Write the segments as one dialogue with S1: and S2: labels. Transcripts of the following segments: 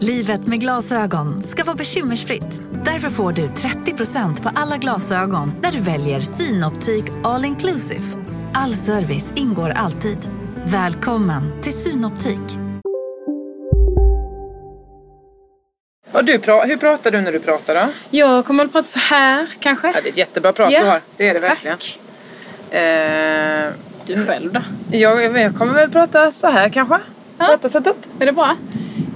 S1: Livet med glasögon ska vara bekymmersfritt. Därför får du 30% på alla glasögon när du väljer Synoptik All Inclusive. All service ingår alltid. Välkommen till Synoptik.
S2: Och du, pra- hur pratar du när du pratar då?
S3: Jag kommer att prata så här kanske.
S2: Ja, det är ett jättebra prat
S3: Ja.
S2: du har. Det är det verkligen.
S3: Tack.
S2: Eh,
S3: Du själv då?
S2: jag, jag kommer väl prata så här kanske.
S3: Ja.
S2: Prata sättet.
S3: Är det bra?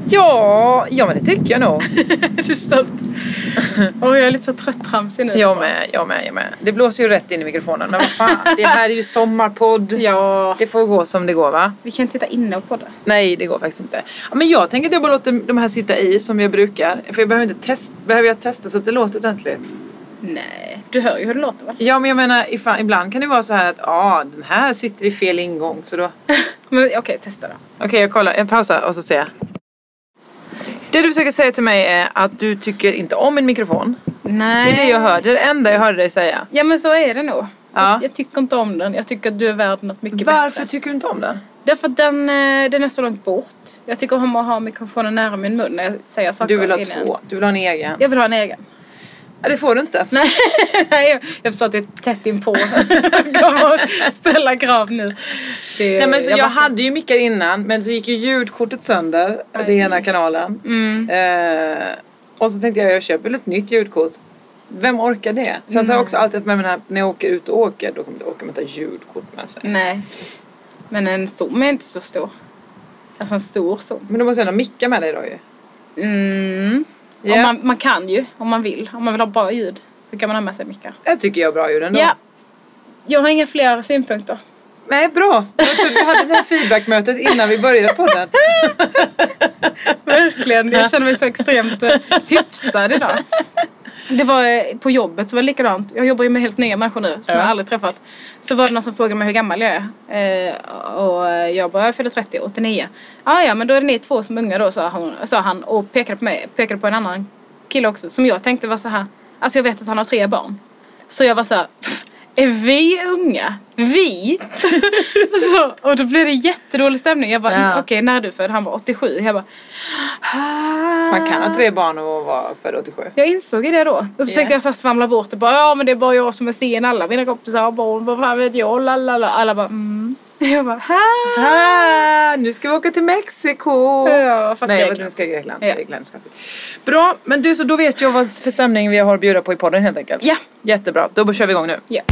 S2: Ja, ja men det tycker jag nog.
S3: du är stolt. Och jag är lite så tröttramsig nu.
S2: Jag med, jag med, jag med. Det blåser ju rätt in i mikrofonen. Men vad fan, det här är ju sommarpodd.
S3: Ja.
S2: Det får gå som det går va?
S3: Vi kan sitta inne och podda.
S2: Nej, det går faktiskt inte. Ja, men jag tänker att jag bara låter de här sitta i som jag brukar. För jag behöver inte test, behöver jag testa så att det låter ordentligt.
S3: Nej. Du hör ju hur det låter väl?
S2: Ja, men jag menar ifall, ibland kan det vara så här att ja, den här sitter i fel ingång så då
S3: Men okej, testa då.
S2: Okej, jag kollar. Jag pausar och så ser jag. Det du försöker säga till mig är att du tycker inte om min mikrofon. Det
S3: Nej.
S2: är det jag hör. Det är det enda jag hörde dig säga.
S3: Ja men så är det nog.
S2: Ja.
S3: Jag, jag tycker inte om den. Jag tycker att du är värd något mycket
S2: Varför
S3: bättre.
S2: tycker du inte om det?
S3: Därför att den, eh, den är så långt bort. Jag tycker om att ha mikrofonen nära min mun när jag säger saker.
S2: Du vill ha
S3: innan.
S2: två. Du vill ha en egen.
S3: Jag vill ha en egen.
S2: Ja, det får du inte.
S3: Nej, nej jag, jag förstår att det är tätt inpå. Jag kommer att ställa krav nu. Det,
S2: Nej, men så jag,
S3: bara-
S2: hade ju mickar innan men så gick ju ljudkortet sönder. Det
S3: Aj.
S2: ena kanalen.
S3: Mm.
S2: Eh, och så tänkte jag jag köper väl ett nytt ljudkort. Vem orkar det? Sen
S3: Mm.
S2: så har jag också alltid haft med mig den här, när jag åker ut och åker då kommer jag orka med att ta ljudkort med sig.
S3: Nej. Men en zoom är inte så stor. Alltså en stor zoom.
S2: Men då måste jag ändå micka med dig då ju.
S3: Mm.
S2: Ja.
S3: Om man, man kan ju, om man vill. Om man vill ha bra ljud så kan man ha med sig mickar.
S2: Det tycker jag är bra ljud ändå.
S3: Ja. Jag har inga fler synpunkter.
S2: Nej, bra. Så Vi hade det här feedbackmötet innan vi började podden.
S3: Verkligen. Jag känner mig så extremt eh, hyfsad idag. Det var eh, på jobbet så var det likadant. Jag jobbar ju med helt nya människor nu som
S2: Ja.
S3: jag aldrig träffat. Så var det någon som frågade mig hur gammal jag är. Eh, och jag bara, jag fyller 30, 89. Ja, ja, men då är det ni två som är unga då, sa, hon, sa han och pekade på mig, pekade på en annan kille också som jag tänkte var så här. Alltså jag vet att han har tre barn. Så jag var så här, "Pff, är vi unga? Vi? så, och då blev det jättedålig stämning. Jag bara,
S2: Ja.
S3: okej när är du född? Han var 87. Jag bara, "Ah,
S2: Man kan ha tre barn och vara född 87.
S3: jag insåg ju det då. Och så försökte jag så här svamla bort det. Bara, ja men det är bara jag som är sen. Alla mina kompisar har barn. Vad fan vet jag? Lalala. Alla bara mm. Jag bara ha.
S2: Ah, nu ska vi åka till Mexiko!
S3: Ja, fast
S2: Nej, jag vet inte,
S3: Grekland.
S2: vi ska i Grekland.
S3: Ja.
S2: Grekland ska vi. Bra, men du, så då vet jag vad för stämning vi har att bjuda på i podden helt enkelt.
S3: Ja.
S2: Jättebra, då kör vi igång nu.
S3: Ja.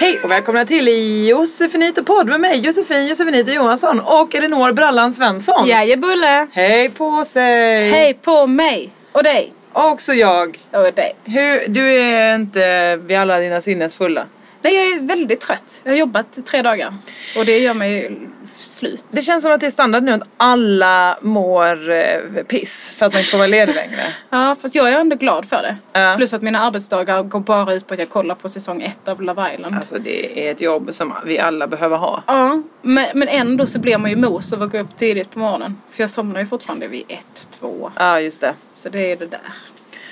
S2: Hej och välkomna till Josefinito podd med mig Josefin Josefinito Johansson och Elinor Brallan Svensson.
S3: Jajebulle.
S2: Hej på sig!
S3: Hej på mig. Och dig.
S2: Också jag.
S3: Och dig.
S2: Hur, du är inte vid alla dina sinnes fulla.
S3: Nej jag är väldigt trött. Jag har jobbat tre dagar. Och det gör mig ju slut.
S2: Det känns som att det är standard nu att alla mår eh, piss för att man inte får vara ledig längre.
S3: Ja fast jag är ändå glad för det.
S2: Ja.
S3: Plus att mina arbetsdagar går bara ut på att jag kollar på säsong ett av Love Island.
S2: Alltså det är ett jobb som vi alla behöver ha.
S3: Ja, men, men ändå så blir man ju mos av att gå upp tidigt på morgonen. För jag somnar ju fortfarande vid ett, två.
S2: Ja, just det.
S3: Så det är det där.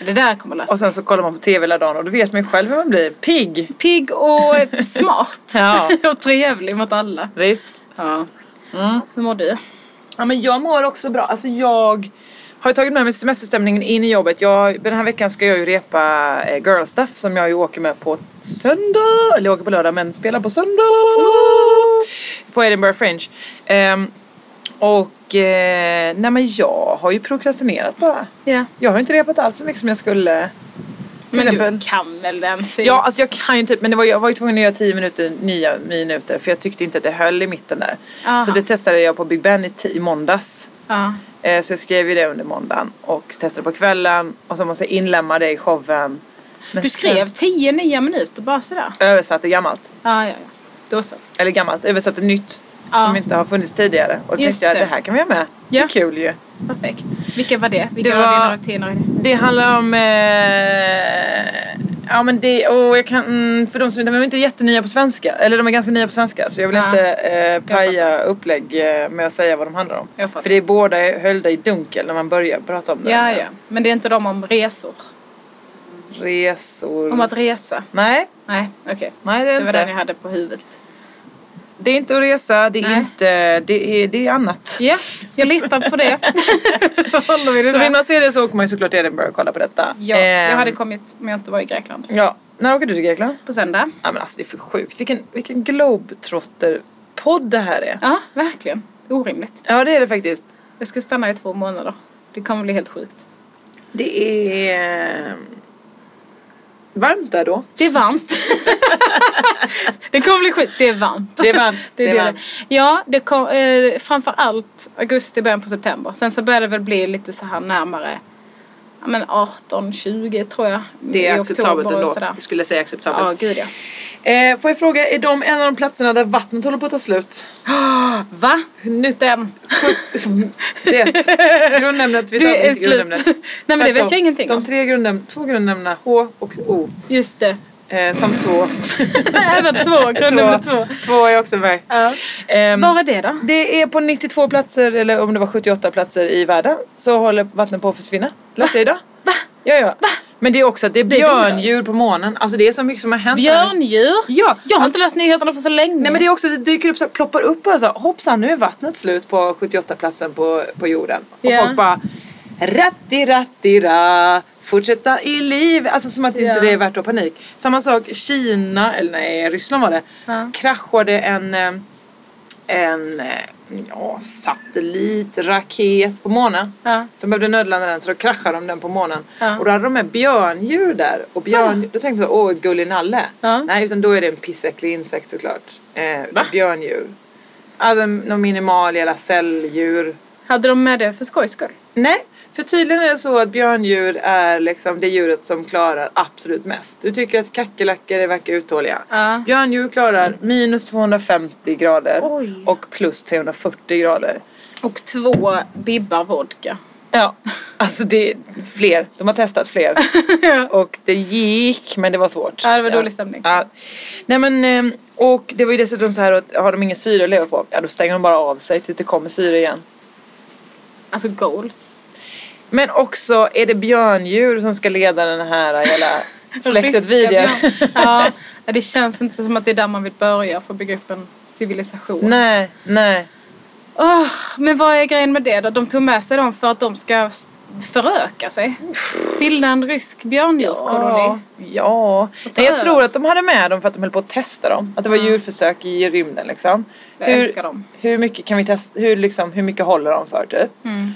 S3: Det där kommer lösa
S2: Och sen så kollar man på TV hela dagen och då vet man ju själv hur man blir. Pigg!
S3: Pigg och eh, smart.
S2: Ja.
S3: och trevlig mot alla.
S2: Visst.
S3: Ja. Hur mår du?
S2: Ja, men jag mår också bra. Alltså jag har ju tagit med mig semesterstämningen in i jobbet. Jag, den här veckan ska jag ju repa eh, Girl Stuff som jag ju åker med på söndag. Eller jag åker på lördag men spelar på söndag. På Edinburgh Fringe. Ehm, och eh, nej men jag har ju prokrastinerat bara.
S3: Ja.
S2: Jag har ju inte repat alls så mycket som jag skulle. till
S3: men
S2: exempel.
S3: du kan väl den? Typ.
S2: Ja, alltså jag kan ju typ, men det var, jag var ju tvungen att göra 10 minuter, 9 minuter för jag tyckte inte att det höll i mitten där.
S3: Aha.
S2: Så det testade jag på Big Ben i, ti- i måndags.
S3: ja.
S2: Eh, Så jag skrev ju det under måndagen och testade på kvällen och så måste jag inlämna det i showen. Men
S3: Du skrev 10 nya minuter bara sådär?
S2: sen Översatte gammalt.
S3: Ja, ja, ja. Då så.
S2: Eller gammalt, översatte nytt.
S3: Ja.
S2: Som inte har funnits tidigare. Och då
S3: Just
S2: tänkte jag,
S3: det.
S2: det här kan vi ha med. Det är
S3: Ja.
S2: kul ju.
S3: Perfekt. Vilka var det? Vilka
S2: Det
S3: var,
S2: var-
S3: dina rutiner? i det?
S2: Det handlar om... Eh, ja men det... Och jag kan, mm, för de som de är inte jättenya på svenska. Eller de är ganska nya på svenska. Så jag vill
S3: Ja.
S2: inte eh, paja upplägg eh, med att säga vad de handlar om.
S3: Jag fattar.
S2: För det är båda höljda i dunkel när man börjar prata om det.
S3: Ja, ja. Men det är inte de om resor?
S2: Resor...
S3: Om att resa?
S2: Nej,
S3: Nej, okej.
S2: nej det är
S3: Det var
S2: inte.
S3: den jag hade på huvudet.
S2: Det är inte att resa, det är
S3: Nej.
S2: inte... Det är, det är annat.
S3: Ja, jag litar på det. så håller vi det
S2: Så
S3: där.
S2: vill man se det så åker man ju såklart till Edinburgh och kollar på detta.
S3: Ja, jag
S2: Ehm,
S3: hade kommit om jag inte var i Grekland.
S2: Ja. När åker du till Grekland?
S3: På söndag.
S2: Ja men alltså det är för sjukt. Vilken, vilken globetrotter-podd det här är.
S3: Ja, verkligen. Orimligt.
S2: Ja det är det faktiskt.
S3: Jag ska stanna i två månader. Det kommer bli helt sjukt.
S2: Det är... eh, Varmt där då.
S3: Det är varmt. det kommer bli sjukt. Det är varmt.
S2: Det är varmt.
S3: Det är det.
S2: varmt.
S3: Ja, det kom, eh, framför allt augusti, början på september. Sen så började det väl bli lite så här närmare ja, men 18-20 tror jag.
S2: Det är
S3: i
S2: acceptabelt
S3: oktober och
S2: ändå.
S3: sådär.
S2: Jag skulle säga
S3: Ja,
S2: acceptabelt.
S3: gud ja.
S2: Eh, får jag fråga, är de en av de platserna där vattnet håller på att ta slut?
S3: Va? Nytten.
S2: Det. Grundämnet, vi tar
S3: Det är
S2: inte
S3: slut.
S2: grundämnet.
S3: Nej men det vet
S2: Tvärtom.
S3: jag ingenting
S2: De
S3: om.
S2: tre grundämnen, två grundämnena H och O.
S3: Just det.
S2: Eh, som två.
S3: Även två, grundnummer två.
S2: Två är också med. Ehm,
S3: Var är det då?
S2: det är på 92 platser, eller om det var 78 platser i världen, så håller vattnet på att försvinna. Läste jag idag. Va? Ja, ja. Men det är också att det är
S3: Blir det idag?
S2: björndjur på månen. Alltså det är så mycket som har hänt.
S3: Björndjur?
S2: Ja.
S3: Jag har inte läst nyheterna på så länge.
S2: Nej men det är också, det dyker upp så här, ploppar upp bara så här, hoppsan nu är vattnet slut på 78 platsen på, på jorden. Och
S3: Ja.
S2: folk bara ratti ratti ra fortsätta i liv. Alltså som att
S3: Ja.
S2: inte det är värt att ha panik. Samma sak, Kina, eller nej Ryssland var det,
S3: Ja.
S2: kraschade en, eh, en eh, ja, satellitraket på månen.
S3: Ja.
S2: De behövde nödlanda den så då kraschade de den på månen.
S3: Ja.
S2: Och då hade de med björndjur där. Och björn, då tänkte jag så, åh gullig nalle.
S3: Ja.
S2: Nej utan då är det en pissäcklig insekt såklart. Eh, björndjur. Alltså någon minimal jävla celldjur.
S3: Hade de med det för skojs skull?
S2: Nej, för tydligen är det så att björndjur är liksom det djuret som klarar absolut mest. Du tycker att kackerlackor är verkar uthålliga.
S3: Ja.
S2: Björndjur klarar minus 250 grader
S3: Oj.
S2: och plus 340 grader.
S3: Och två bibbar vodka.
S2: Ja, alltså det är fler. De har testat fler. och det gick, men det var svårt.
S3: Ja, det var dålig stämning.
S2: Ja. Nej men, ehm, och det var ju dessutom så här att har de ingen syre att leva på, ja då stänger de bara av sig tills det kommer syre igen.
S3: Alltså goals.
S2: Men också, är det björndjur som ska leda den här jävla släktet
S3: Ryska
S2: vidare?
S3: björn. ja. ja, det känns inte som att det är där man vill börja för att bygga upp en civilisation.
S2: nej, nej.
S3: Åh, men vad är grejen med det då? De tog med sig dem för att de ska s- föröka sig. Bilda en rysk björndjurskoloni.
S2: Ja. Nej,
S3: är
S2: jag
S3: det?
S2: tror att de hade med dem för att de höll på att testa dem. Att det var djurförsök i rymden liksom.
S3: Jag älskar dem.
S2: Hur mycket kan vi testa? Hur, liksom, hur mycket håller de för typ?
S3: Mm.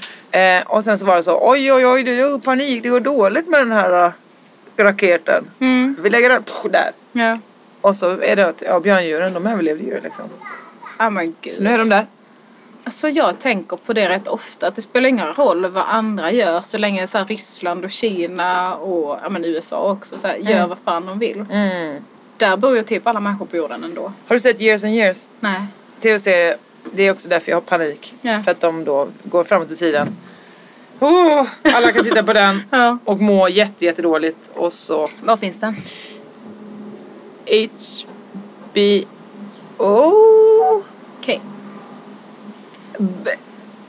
S2: Eh, och sen så var det så oj oj oj det är panik det går dåligt med den här eh, raketen.
S3: Mm.
S2: Vi lägger den pff, där.
S3: Ja.
S2: Och så är det att ja, björndjuren de överlevde ju liksom.
S3: Ja men
S2: Så nu
S3: gud.
S2: är de där.
S3: Alltså jag tänker på det rätt ofta. Att det spelar ingen roll vad andra gör så länge så här Ryssland och Kina och ja, men USA också så här,
S2: Mm.
S3: gör vad fan de vill. Mm. Där bor ju typ alla människor på jorden ändå.
S2: Har du sett Years and Years?
S3: Nej.
S2: Tv-serie. Det är också därför jag har panik.
S3: Ja.
S2: För att de då går framåt i tiden. Oh, alla kan titta på den.
S3: Ja.
S2: Och må jätte, jätte dåligt. Och så
S3: Var finns den?
S2: HBO...
S3: Okej.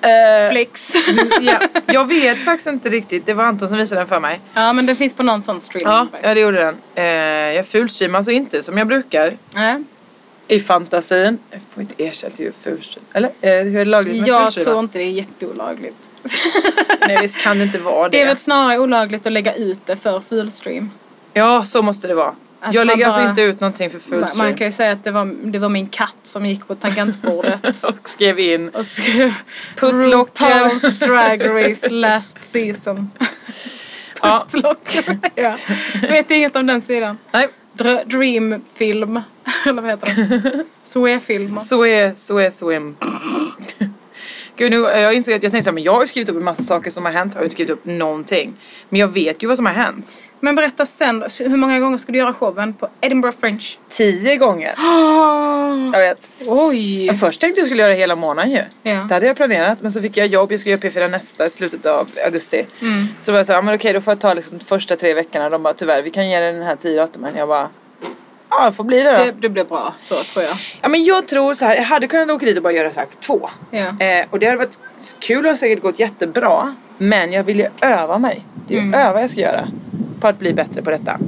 S2: Eh,
S3: Flix.
S2: ja, jag vet faktiskt inte riktigt. Det var Anton som visade den för mig.
S3: ja men den finns på någon sån
S2: Ja,
S3: streaming.
S2: ja det gjorde den. Eh, jag fulstreamar alltså inte som jag brukar
S3: Nej.
S2: i fantasin. Jag får inte erkänt hur fulstream... Eller eh, hur är det lagligt med
S3: Jag
S2: fulstream?
S3: tror inte det är jätteolagligt.
S2: Nej visst kan det inte vara det.
S3: Det är väl snarare olagligt att lägga ut det för fullstream.
S2: Ja så måste det vara.
S3: Att
S2: jag
S3: man
S2: lägger alltså
S3: bara-
S2: inte ut någonting för
S3: Man,
S2: fulstream.
S3: man kan ju säga att det var, det var min katt som gick på tangentbordet.
S2: Och skrev in
S3: och skrev
S2: Puttlocker.
S3: RuPaul's Drag Race last season.
S2: Ja.
S3: Skitblock. ja. Vet inget om den sidan.
S2: Nej,
S3: Dr- Dreamfilm. Eller vad heter den? Zoe-film.
S2: så är, så är, så är. Gud, nu, eh, jag inser att jag tänkte så här, men jag har ju skrivit upp en massa saker som har hänt. Jag har ju inte skrivit upp någonting. Men jag vet ju vad som har hänt.
S3: Men berätta sen, hur många gånger ska du göra showen på Edinburgh Fringe?
S2: Tio gånger. Jag vet.
S3: Oj!
S2: Jag först tänkte jag skulle göra det hela månaden ju.
S3: Ja.
S2: Det hade jag planerat men så fick jag jobb, jag ska göra P4 nästa i slutet av augusti.
S3: Mm.
S2: Så var jag såhär, ja men okej då får jag ta liksom de första tre veckorna. De bara tyvärr vi kan ge dig den här tio datumen. Jag bara, ja det får bli det då.
S3: Det, det blir bra så tror jag.
S2: Ja men jag tror så här, jag hade kunnat åka dit och bara göra så här två.
S3: Ja.
S2: Eh, och det hade varit kul och har säkert gått jättebra. Men jag vill ju öva mig. Det är ju
S3: Mm.
S2: öva jag ska göra. På att bli bättre på detta.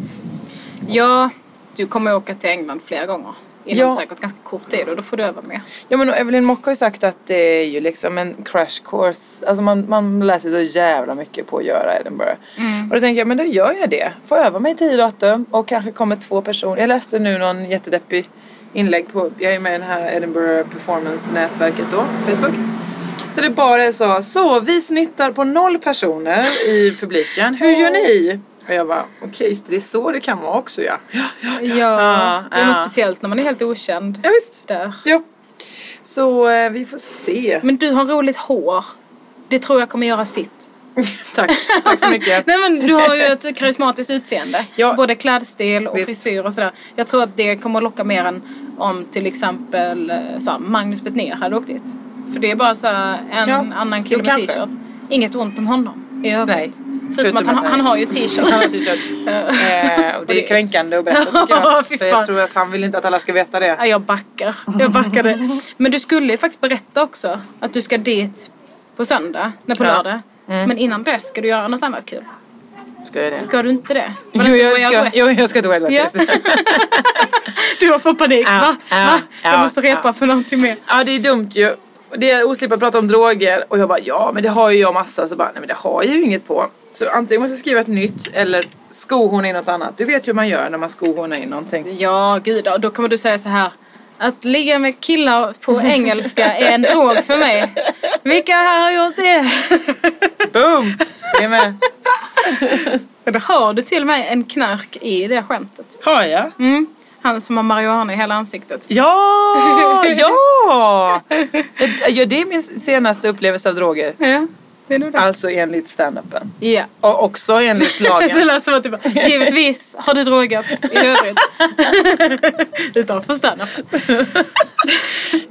S3: Ja, du kommer åka till England flera gånger. Inom
S2: Ja.
S3: säkert ganska kort tid och då får du öva mer.
S2: Ja men och Evelyn Mock har ju sagt att det är ju liksom en crash course. Alltså man, man lär sig så jävla mycket på att göra Edinburgh.
S3: Mm.
S2: Och då tänker jag, men då gör jag det. Får öva mig i tio datum och kanske kommer två personer. Jag läste nu någon jättedeppig inlägg på, jag är ju med i det här Edinburgh Performance-nätverket då, Facebook. Där det bara är så, så vi snittar på noll personer i publiken. Hur gör ni? Och jag bara, okej så det är så det kan vara också ja. Ja, ja,
S3: Ja, det är något
S2: ja.
S3: speciellt när man är helt okänd.
S2: ja visst.
S3: Där.
S2: Ja. Så eh, vi får se.
S3: Men du har roligt hår. Det tror jag kommer göra sitt.
S2: Tack, tack så mycket.
S3: Nej men du har ju ett karismatiskt utseende.
S2: Ja.
S3: Både klädstil och
S2: Visst.
S3: frisyr och sådär. Jag tror att det kommer att locka mer än om till exempel eh, så här, Magnus Betnér hade åkt dit. För det är bara så här, en
S2: Ja,
S3: annan
S2: jo,
S3: kille med
S2: kanske.
S3: t-shirt. Inget ont om honom i övrigt.
S2: Nej,
S3: Förutom att han, han har ju t-shirt.
S2: Han har t-shirt. Eh, och
S3: Och det-
S2: det är kränkande att berätta tycker jag.
S3: Fy
S2: För jag
S3: fan.
S2: tror att han vill inte att alla ska veta det.
S3: Ja, jag backar. Jag backade. Men du skulle ju faktiskt berätta också att du ska dit på söndag, nej på
S2: Ja. Mm.
S3: lördag. Men innan dess ska du göra något annat kul.
S2: Ska jag det?
S3: Ska du inte det? Var det
S2: Jo,
S3: inte
S2: jag
S3: Way Out
S2: ska,
S3: West?
S2: jo, jag ska till Wild West.
S3: Ja.
S2: just det.
S3: Du har fått panik.
S2: Ja,
S3: va?
S2: ja,
S3: va? Jag
S2: ja,
S3: måste repa
S2: ja.
S3: för någonting mer.
S2: Ja, det är dumt ju. Och Det är oslipat att prata om droger. Och jag bara, ja men det har ju jag massa. Så bara, nej men det har jag ju inget på. Så antingen måste jag skriva ett nytt eller skohorna in något annat. Du vet ju hur man gör när man skohornar in någonting.
S3: Ja, gud. ja, Då kommer du säga så här. Att ligga med killar på engelska är en drog för mig. Vilka här har gjort det?
S2: Boom! Det är med.
S3: Eller har du till mig en knark i det skämtet?
S2: Har jag?
S3: Mm. Han som har marijuana i hela ansiktet.
S2: Ja, ja! ja! Det är min senaste upplevelse av droger.
S3: Ja, det är nog det.
S2: Alltså enligt standupen.
S3: Ja.
S2: Och också enligt
S3: Det
S2: lagen.
S3: lät som att du bara, givetvis har du drogats i övrigt. Utanför stanna.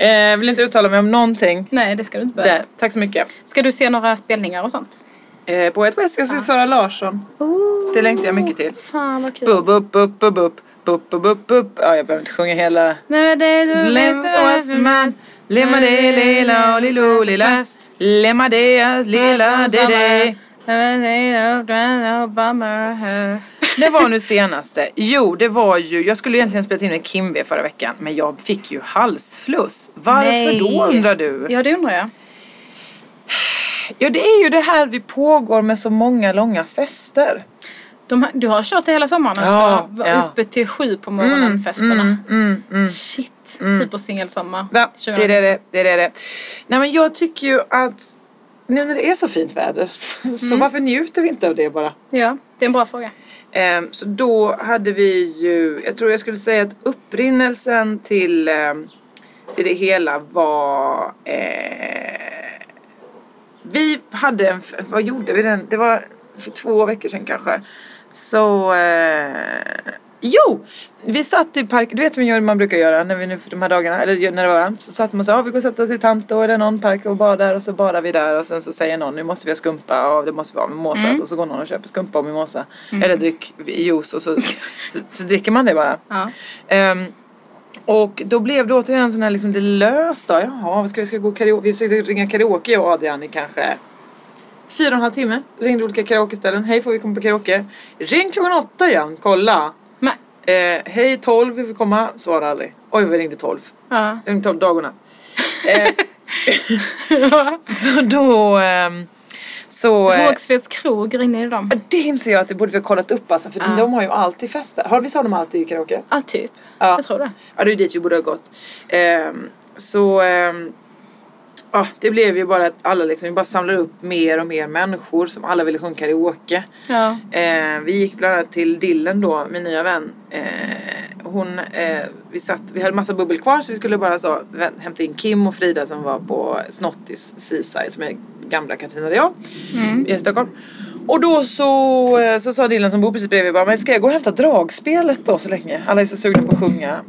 S2: eh, vill inte uttala mig om någonting.
S3: Nej, det ska du inte behöva.
S2: Där. Tack så mycket.
S3: Ska du se några spelningar och sånt?
S2: Eh, på ett West ska jag se Sara Larsson. Det längtar jag mycket till.
S3: Fan vad kul.
S2: Bup, bup, bup, bup, bup. Bup, bup, bup, bup. Ja, jag behöver inte sjunga hela...
S3: Nej, men det, du
S2: Lems oss man Lemma det lilla och lillo lilla Lemma det lilla det det Det var nu senaste. Jo, det var ju... Jag skulle egentligen spela in med Kim V förra veckan, men jag fick ju halsfluss. Varför
S3: Nej.
S2: då undrar du?
S3: Ja, det undrar jag.
S2: Ja, det är ju det här vi pågår med så många långa fester.
S3: De, här- du har kört det hela sommaren
S2: Ja,
S3: alltså?
S2: ja.
S3: Uppe till sju på morgonen Mm, festerna.
S2: mm, mm.
S3: Shit, supersingelsommar.
S2: Va? Det är
S3: 2019.
S2: det, det, det är det. Nej, men jag tycker ju att nu när det är så fint väder, så varför njuter vi inte av det bara?
S3: Ja, det är en bra fråga.
S2: Ehm, så då hade vi ju, jag tror jag skulle säga att upprinnelsen till, ehm, till det hela var... Eh, vi hade en, f- vad gjorde vi den? Det var för två veckor sedan kanske. Så... Eh, jo! Vi satt i parken, du vet som jag- man brukar göra när vi nu för de här dagarna, eller när det var varmt, så satt man så ah, vi går och sätter oss i Tanto eller någon park och badar och så badar vi där och sen så säger någon nu måste vi ha skumpa och det måste vi ha mimosa så, så går någon och köper skumpa och mimosa eller drick juice och så, så, så dricker man det bara.
S3: Ja.
S2: Ehm, och då blev det återigen en sån här liksom det löst då. Jaha, vad ska vi ska gå karaoke? Vi försökte ringa karaoke jag och Adrian i kanske fyra och en halv timme. Ringde olika karaokeställen. Hej, får vi komma på karaoke? Ring klockan åtta igen, kolla.
S3: Men,
S2: Eh, hej, tolv, vi får komma. Svarar aldrig. Oj, vi ringde tolv.
S3: ja.
S2: Ringde tolv dag och natt. Eh, så då... ehm, så... eh,
S3: Rågsveds krog, ringde ni dem?
S2: det inser jag att det borde vi ha kollat upp alltså, för
S3: Ja.
S2: de har ju alltid fester. Har, visst har de alltid karaoke?
S3: Ja, typ.
S2: Ja.
S3: Jag tror det.
S2: Ja, det är dit vi borde ha gått. Ehm, så... ehm, ja, det blev ju bara att alla liksom, vi bara samlade upp mer och mer människor som alla ville sjunga karaoke.
S3: Ja.
S2: Eh, vi gick bland annat till Dillen då, min nya vän. Eh, hon, eh, vi, satt, vi hade massa bubbel kvar så vi skulle bara så, vä- hämta in Kim och Frida som var på Snottis Seaside som är gamla Katarina Real i Stockholm. Och då så, eh, så sa Dillen som bor precis bredvid bara, men ska jag gå och hämta dragspelet då så länge? Alla är så sugna på att sjunga.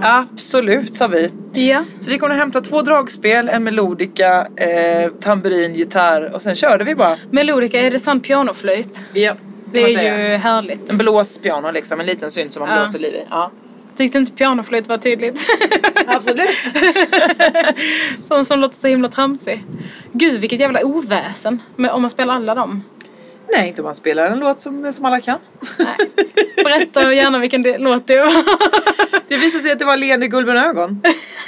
S2: Absolut, sa vi.
S3: ja.
S2: Så vi kom och hämtade två dragspel, en melodika, eh, tamburin, gitarr och sen körde vi bara.
S3: Melodica, är det sann pianoflöjt?
S2: Ja,
S3: Det är ju härligt.
S2: En blåspiano liksom, en liten synt som man
S3: Ja.
S2: blåser liv i. Ja.
S3: Tyckte inte pianoflöjt var tydligt.
S2: Absolut.
S3: Sån som låter så himla tramsig. Gud vilket jävla oväsen. Men om man spelar alla dem.
S2: Nej, inte om man spelar en låt som, som alla kan.
S3: Berätta gärna vilken det- låt det var.
S2: Det visade sig att det var leende guldbrunögon.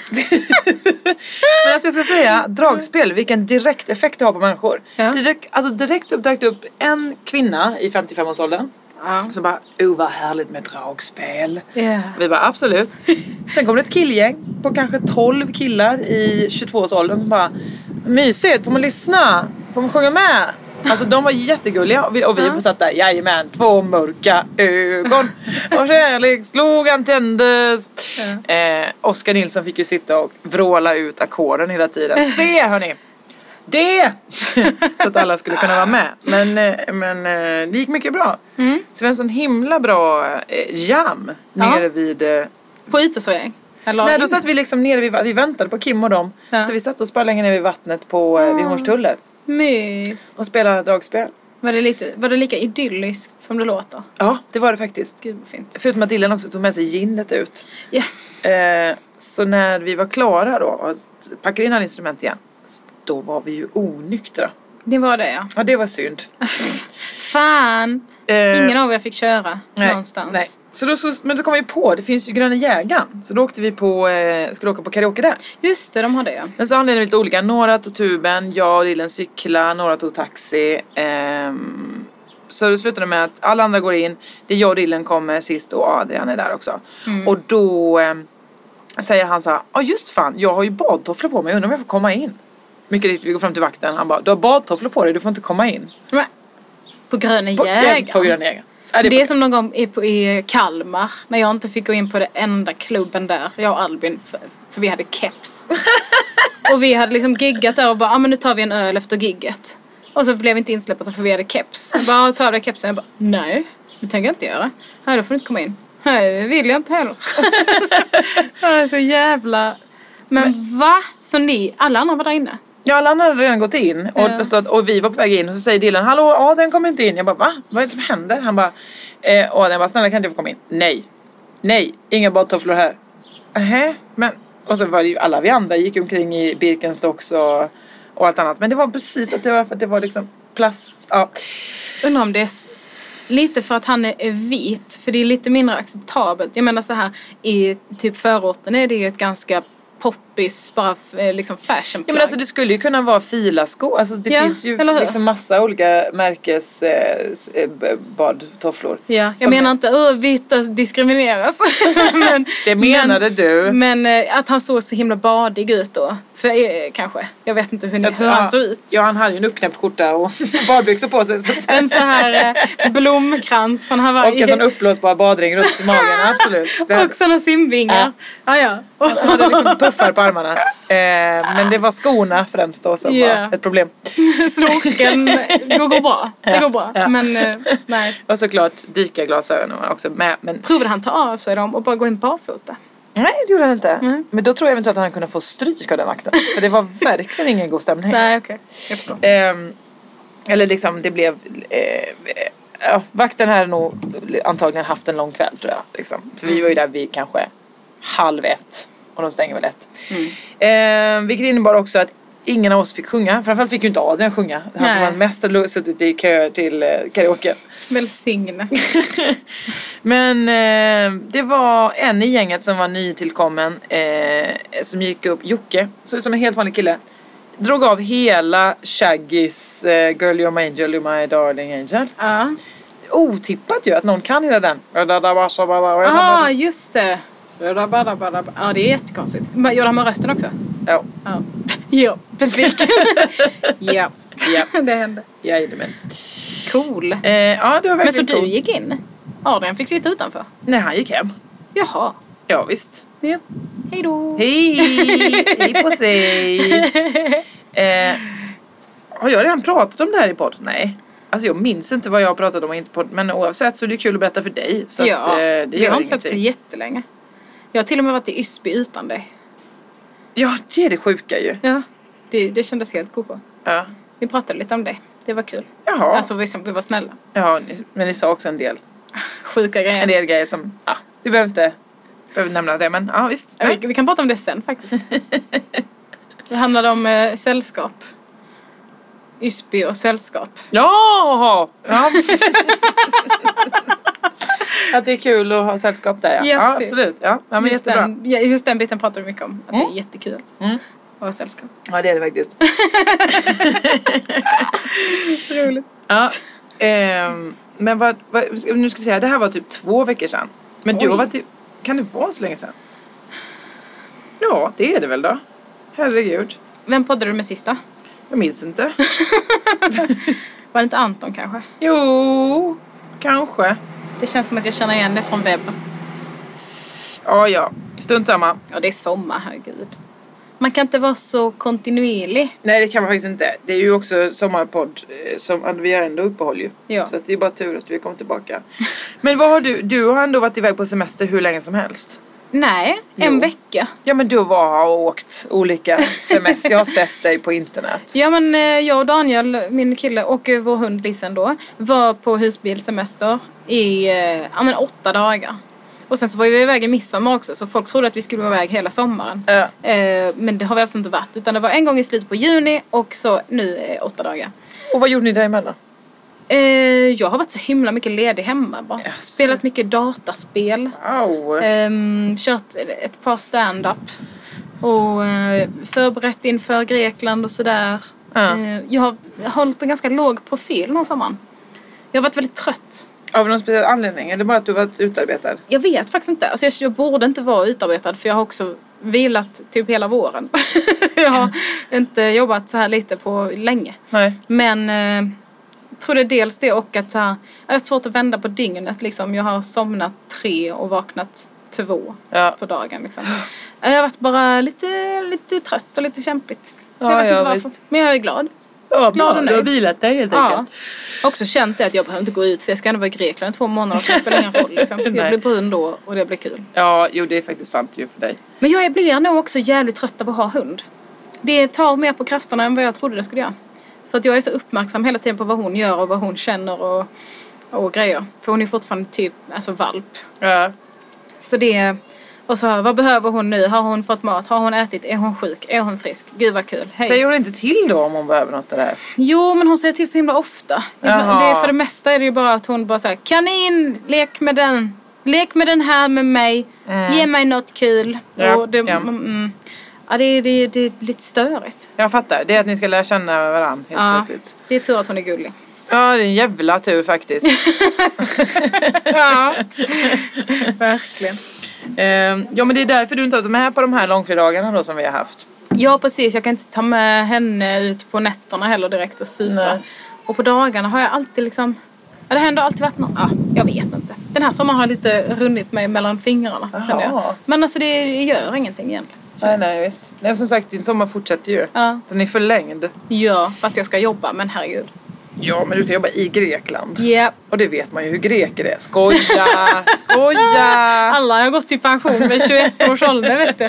S2: Men alltså jag ska säga, dragspel, vilken direkt effekt det har på människor.
S3: Ja.
S2: Det dök, alltså direkt upp, dök det upp en kvinna i 55-årsåldern
S3: Ja.
S2: som bara, oh vad härligt med dragspel.
S3: Ja.
S2: Vi bara absolut. Sen kom det ett killgäng på kanske 12 killar i 22-årsåldern som bara mysigt, får man lyssna? Får man sjunga med? Alltså de var jättegulliga och vi, och vi
S3: Ja.
S2: satt där, jajamän, två mörka ögon och kärlek slogan tändes. Eh, Oskar Nilsson fick ju sitta och vråla ut ackorden hela tiden. Se hörni! Det! så att alla skulle kunna vara med. Men, eh, men eh, det gick mycket bra.
S3: Mm.
S2: Så vi har en sån himla bra eh, jam
S3: Ja.
S2: nere vid... eh,
S3: På uteservering? Eller
S2: Nej, då
S3: in-
S2: satt vi liksom nere vid... va- Vi väntade på Kim och dem.
S3: Ja.
S2: Så vi satt och spelade längre ner vid vattnet på, eh, vid Hornstuller.
S3: Mys.
S2: Och spelade dragspel.
S3: Var det, lite, var det lika idylliskt som det låter?
S2: Ja, det var det faktiskt.
S3: Gud vad fint.
S2: Förutom att Dylan också tog med sig ginet ut.
S3: Ja.
S2: Eh, så när vi var klara då och packade in alla instrument igen. Då var vi ju onyktra.
S3: Det var det ja.
S2: Ja, det var synd.
S3: Fan!
S2: Eh,
S3: Ingen av er fick köra någonstans.
S2: Nej. Så då, så, men då kom vi på, det finns ju Gröna Jägaren. Så då åkte vi på, eh, skulle åka på karaoke där.
S3: Just det, de har det ja.
S2: Men så anledde vi lite olika. Några tog tuben, jag och Dylan cykla, några tog taxi. ehm, så det slutade med att alla andra går in. Det är jag och Dylan kommer sist och Adrian är där också. Och då ehm, säger han så här, ja just fan, jag har ju badtofflor på mig, undrar om jag får komma in. Mycket riktigt, vi går fram till vakten. Han bara, du har badtofflor på dig, du får inte komma in.
S3: Men, På Gröna
S2: På,
S3: Jägaren.
S2: på Gröna Jägaren. Ja,
S3: det, är som någon gång i, på, i Kalmar när jag inte fick gå in på den enda klubben där, jag och Albin, för, för vi hade keps. och vi hade liksom giggat där och bara, ah, men nu tar vi en öl efter gigget. Och så blev vi inte insläppta för vi hade keps. Jag bara, ah, ta av dig kepsen. Jag bara, nej, det tänker jag inte göra. Nej, då får du inte komma in. Nej, det vill jag inte heller. jag är så jävla... Men, va? Så ni, alla andra var där inne?
S2: Ja, alla andra hade redan gått in och,
S3: Ja.
S2: så att, och vi var på väg in och så säger Dylan Hallå Adrian kom inte in. Jag bara va? Vad är det som händer? Han bara eh, och Adrian bara snälla kan inte jag få komma in? Nej. Nej, inga badtofflor här. Nähä, men och så var det ju alla vi andra gick omkring i Birkenstocks och, och allt annat. Men det var precis att det var för att det var liksom plast. Ja.
S3: Undrar om det är s- lite för att han är är vit, för det är lite mindre acceptabelt. Jag menar så här, i typ förorten är det ju ett ganska poppis, bara f- eh, liksom fashion
S2: Ja, men alltså, det skulle ju kunna vara filaskor. Alltså, det
S3: Ja,
S2: finns ju
S3: eller hur?
S2: liksom massa olika märkes eh, s- eh, b- badtofflor.
S3: Ja, jag
S2: Som-
S3: menar inte att vita diskrimineras. men,
S2: Det menade du.
S3: men eh, att han såg så himla badig ut då. För, eh, kanske. Jag vet inte hur, ni,
S2: Att,
S3: hur han
S2: ja,
S3: såg ut.
S2: Ja, han hade ju en uppknäppt skjorta och badbyxor på sig. Så att,
S3: En så här eh, blomkrans från Hawaii.
S2: och en sån uppblåsbar badring runt magen, absolut. Det hade,
S3: Och såna simvingar. Ja, ja.
S2: han hade liksom puffar på armarna. Eh, men det var skorna främst då som
S3: Ja.
S2: var ett problem.
S3: Snorkeln går, går bra. Det går bra.
S2: Ja.
S3: Men eh, nej.
S2: Och såklart dykarglasögonen var också med. Men
S3: provade han ta av sig dem och bara gå in barfota.
S2: nej, det gjorde han inte.
S3: Mm.
S2: Men då tror jag eventuellt att han kunde få stryk av den vakten. För det var verkligen ingen god stämning.
S3: Nej, okej. Jag förstår.
S2: Ehm, eller liksom det blev... Eh, ja, vakten hade nog antagligen haft en lång kväll tror jag. Liksom. För vi var ju där vid kanske halv ett och de stänger väl ett. Ehm, vilket innebar också att ingen av oss fick sjunga. Framförallt fick ju inte Adrian sjunga. Han
S3: Nej.
S2: som var mest hade suttit i kö till eh, karaoke.
S3: Välsigne.
S2: Men eh, det var en i gänget som var nytillkommen eh, som gick upp, Jocke, såg ut som en helt vanlig kille. Drog av hela Shaggys eh, Girl you're my angel, you're my darling angel.
S3: Ja.
S2: Otippat ju att någon kan hela den.
S3: Ah, just det. Ja, det är jättekonstigt. Men Gjorde han med rösten också?
S2: Ja.
S3: Ja. Ja, besviken. ja,
S2: Ja,
S3: det hände.
S2: jajamän.
S3: Cool.
S2: Eh, ja, det var
S3: Men så
S2: verkligen
S3: du
S2: coolt.
S3: gick in? Adrian fick sitta utanför?
S2: Nej, han gick hem.
S3: Jaha.
S2: Ja, visst.
S3: Ja. Hej då.
S2: Hej! Hej på sig! Eh, har jag redan pratat om det här i podden? Nej. Alltså jag minns inte vad jag har pratat om och inte podden. Men oavsett så är det kul att berätta för dig. Så
S3: ja,
S2: att, eh, det
S3: vi
S2: gör
S3: har inte sett på
S2: ingenting.
S3: jättelänge. Jag har till och med varit i Ysby utan dig.
S2: Ja, det är det sjuka ju.
S3: Ja, det, det kändes helt goa.
S2: Ja.
S3: Vi pratade lite om det. Det var kul.
S2: Jaha.
S3: Alltså vi, som- vi var snälla.
S2: Ja, ni- men ni sa också en del.
S3: Sjuka
S2: En
S3: grejer.
S2: del grejer som, ja, vi behöver inte behöver nämna det men ja visst.
S3: Ja, Vi, vi kan prata om det sen faktiskt. det handlade om eh, sällskap. Ysby och sällskap.
S2: Ja! ja. att det är kul att ha sällskap där ja.
S3: Ja,
S2: ja
S3: precis.
S2: absolut. Ja, ja men
S3: just,
S2: jättebra.
S3: den, ja, just den biten pratar vi mycket om. Att det
S2: Mm.
S3: är jättekul
S2: Mm.
S3: att ha sällskap.
S2: Ja det är det faktiskt.
S3: Roligt.
S2: Ja. Ehm, men vad, vad, nu ska vi säga, det här var typ två veckor sedan. Men du har
S3: Oj.
S2: varit i, kan det vara så länge sedan? Ja, det är det väl då. Herregud.
S3: Vem poddade du med sista?
S2: Jag minns inte.
S3: Var det inte Anton kanske?
S2: Jo, kanske.
S3: Det känns som att jag känner igen det från webben.
S2: Ja, ja. Strunt samma.
S3: Ja, det är sommar, herregud. Man kan inte vara så kontinuerlig.
S2: Nej det kan man faktiskt inte. Det är ju också sommarpodd. eh, Som, att vi har ändå uppehåll ju.
S3: Ja.
S2: Så att det är bara tur att vi kommer tillbaka. Men vad har du? Du har ändå varit iväg på semester hur länge som helst.
S3: Nej,
S2: Jo.
S3: en vecka.
S2: Ja men du var har åkt olika semester. Jag har sett dig på internet.
S3: Ja, men eh, jag och Daniel, min kille och eh, vår hund Lisen då, var på husbilsemester i eh, ja, men åtta dagar. Och sen så var vi iväg i midsommar också så folk trodde att vi skulle vara iväg hela sommaren.
S2: Ja.
S3: Eh, Men det har vi alltså inte varit utan det var en gång i slutet på juni och så nu eh, åtta dagar.
S2: Och vad gjorde ni däremellan?
S3: Eh, Jag har varit så himla mycket ledig hemma bara.
S2: Jaså.
S3: Spelat mycket dataspel.
S2: Wow.
S3: Ehm, kört ett par stand-up. Och eh, förberett inför Grekland och sådär.
S2: Ja.
S3: Eh, jag har hållit en ganska låg profil den här sommaren. Jag har varit väldigt trött.
S2: Av någon speciell anledning? Eller bara att du varit utarbetad?
S3: Jag vet faktiskt inte. Alltså jag, jag borde inte vara utarbetad för jag har också vilat typ hela våren. jag har inte jobbat så här lite på länge.
S2: Nej.
S3: Men eh, jag tror det är dels det och att så här, jag har svårt att vända på dygnet. Liksom. Jag har somnat tre och vaknat två
S2: Ja.
S3: på dagen. Liksom. Jag har varit bara lite, lite trött och lite kämpigt.
S2: Ja,
S3: jag vet
S2: ja,
S3: inte varför.
S2: visst.
S3: Men jag är glad.
S2: Ja,
S3: Glad och nöjd.
S2: vilat dig helt
S3: Ja. Också känt det att jag behöver inte gå ut för jag ska ändå vara i Grekland i två månader så det spelar ingen roll. Liksom. Jag
S2: Nej.
S3: blir brun då och det blir kul.
S2: Ja, jo det är faktiskt sant ju för dig.
S3: Men jag blir nog också jävligt trött av att ha hund. Det tar mer på krafterna än vad jag trodde det skulle göra. För att jag är så uppmärksam hela tiden på vad hon gör och vad hon känner och, och grejer. För hon är fortfarande typ alltså valp.
S2: Ja.
S3: Så det... Och så här, vad behöver hon nu? Har hon fått mat? Har hon ätit? Är hon sjuk? Är hon frisk? Gud vad kul. Hej.
S2: Säger hon inte till då om hon behöver något av det här?
S3: Jo, men hon säger till så himla ofta.
S2: Jaha.
S3: Det är för det mesta är det ju bara att hon bara säger kanin, lek med den. Lek med den här med mig. Ge mig något kul.
S2: Ja,
S3: Och det,
S2: ja.
S3: Mm, ja, det, det, det är lite störigt.
S2: Jag fattar. Det är att ni ska lära känna varandra helt
S3: Ja.
S2: plötsligt.
S3: Det är tur att hon är gullig.
S2: Ja, det är en jävla tur faktiskt.
S3: ja, verkligen.
S2: Ehm, ja, men det är därför du inte har varit med på de här långfredagarna då som vi har haft.
S3: Ja, precis. Jag kan inte ta med henne ut på nätterna heller direkt och supa.
S2: Nej.
S3: Och på dagarna har jag alltid liksom... Ja, det har ändå alltid varit någon... Ja, jag vet inte. Den här sommaren har lite runnit mig mellan fingrarna. känner
S2: Jaha.
S3: Jag. Men alltså det gör ingenting egentligen.
S2: Nej, nej, visst. Nej, som sagt, din sommar fortsätter ju.
S3: Ja.
S2: Den är förlängd.
S3: Ja, fast jag ska jobba, men herregud.
S2: Ja, men du ska jobba i Grekland.
S3: Yep.
S2: Och det vet man ju hur greker är. Skoja! Skoja!
S3: Ah. Alla har gått i pension vid 21 års ålder, vet du.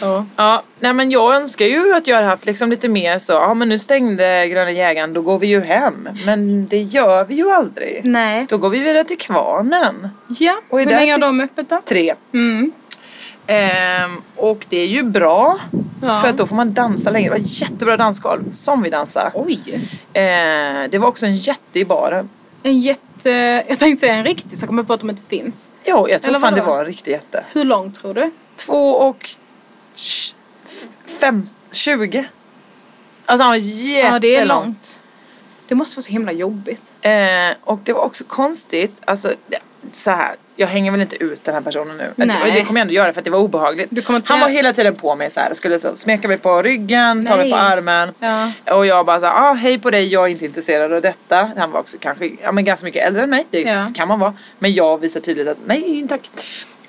S3: Ja.
S2: Ja, nej men jag önskar ju att jag hade haft liksom lite mer så, ja men nu stängde Gröna Jägaren, då går vi ju hem. Men det gör vi ju aldrig.
S3: Nej.
S2: Då går vi vidare till Kvarnen.
S3: Ja,
S2: Och är
S3: hur
S2: där
S3: länge har
S2: till-
S3: de öppet då?
S2: Tre.
S3: Mm.
S2: Ehm, och det är ju bra.
S3: Ja.
S2: För att då får man dansa längre. Det var ett jättebra dansgolv som vi dansade.
S3: Oj.
S2: Ehm, det var också en jätte i baren.
S3: En jätte... Jag tänkte säga en riktig, så kom jag på att de inte finns.
S2: Jo, jag tror
S3: Eller
S2: fan det
S3: vadå?
S2: var en riktig jätte.
S3: Hur lång tror du?
S2: Två och tj- fem, tjugo. Alltså han var jättelång.
S3: Ja, det är långt. Det måste vara så himla jobbigt.
S2: Eh, och det var också konstigt. Alltså, det- så här, jag hänger väl inte ut den här personen nu.
S3: Nej.
S2: Det, det kommer jag ändå göra för att det var obehagligt.
S3: Du kommer inte
S2: han var
S3: göra-
S2: hela tiden på mig så här och skulle så, smeka mig på ryggen, ta mig
S3: Nej.
S2: på armen.
S3: Ja.
S2: Och jag bara så här, ah, hej på dig, jag är inte intresserad av detta. Han var också kanske, ja men ganska mycket äldre än mig, det
S3: Ja.
S2: kan man vara. Men jag visar tydligt att nej tack.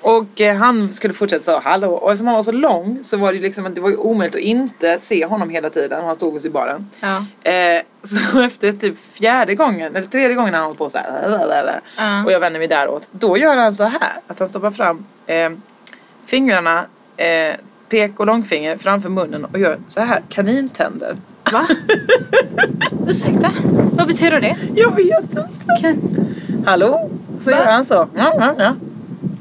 S2: Och eh, han skulle fortsätta säga hallå. Och eftersom han var så lång så var det ju liksom, det var ju omöjligt att inte se honom hela tiden. Och han stod oss i baren.
S3: Ja.
S2: Eh, så efter typ fjärde gången, eller tredje gången han håller på så här.
S3: Ja.
S2: Och jag vänder mig däråt. Då gör han så här. Att han stoppar fram eh, fingrarna, eh, pek och långfinger framför munnen och gör så här kanintänder.
S3: Va? Ursäkta? Vad betyder det?
S2: Jag vet inte.
S3: Kan...
S2: Hallå? Så gör han så. Ja, ja, ja.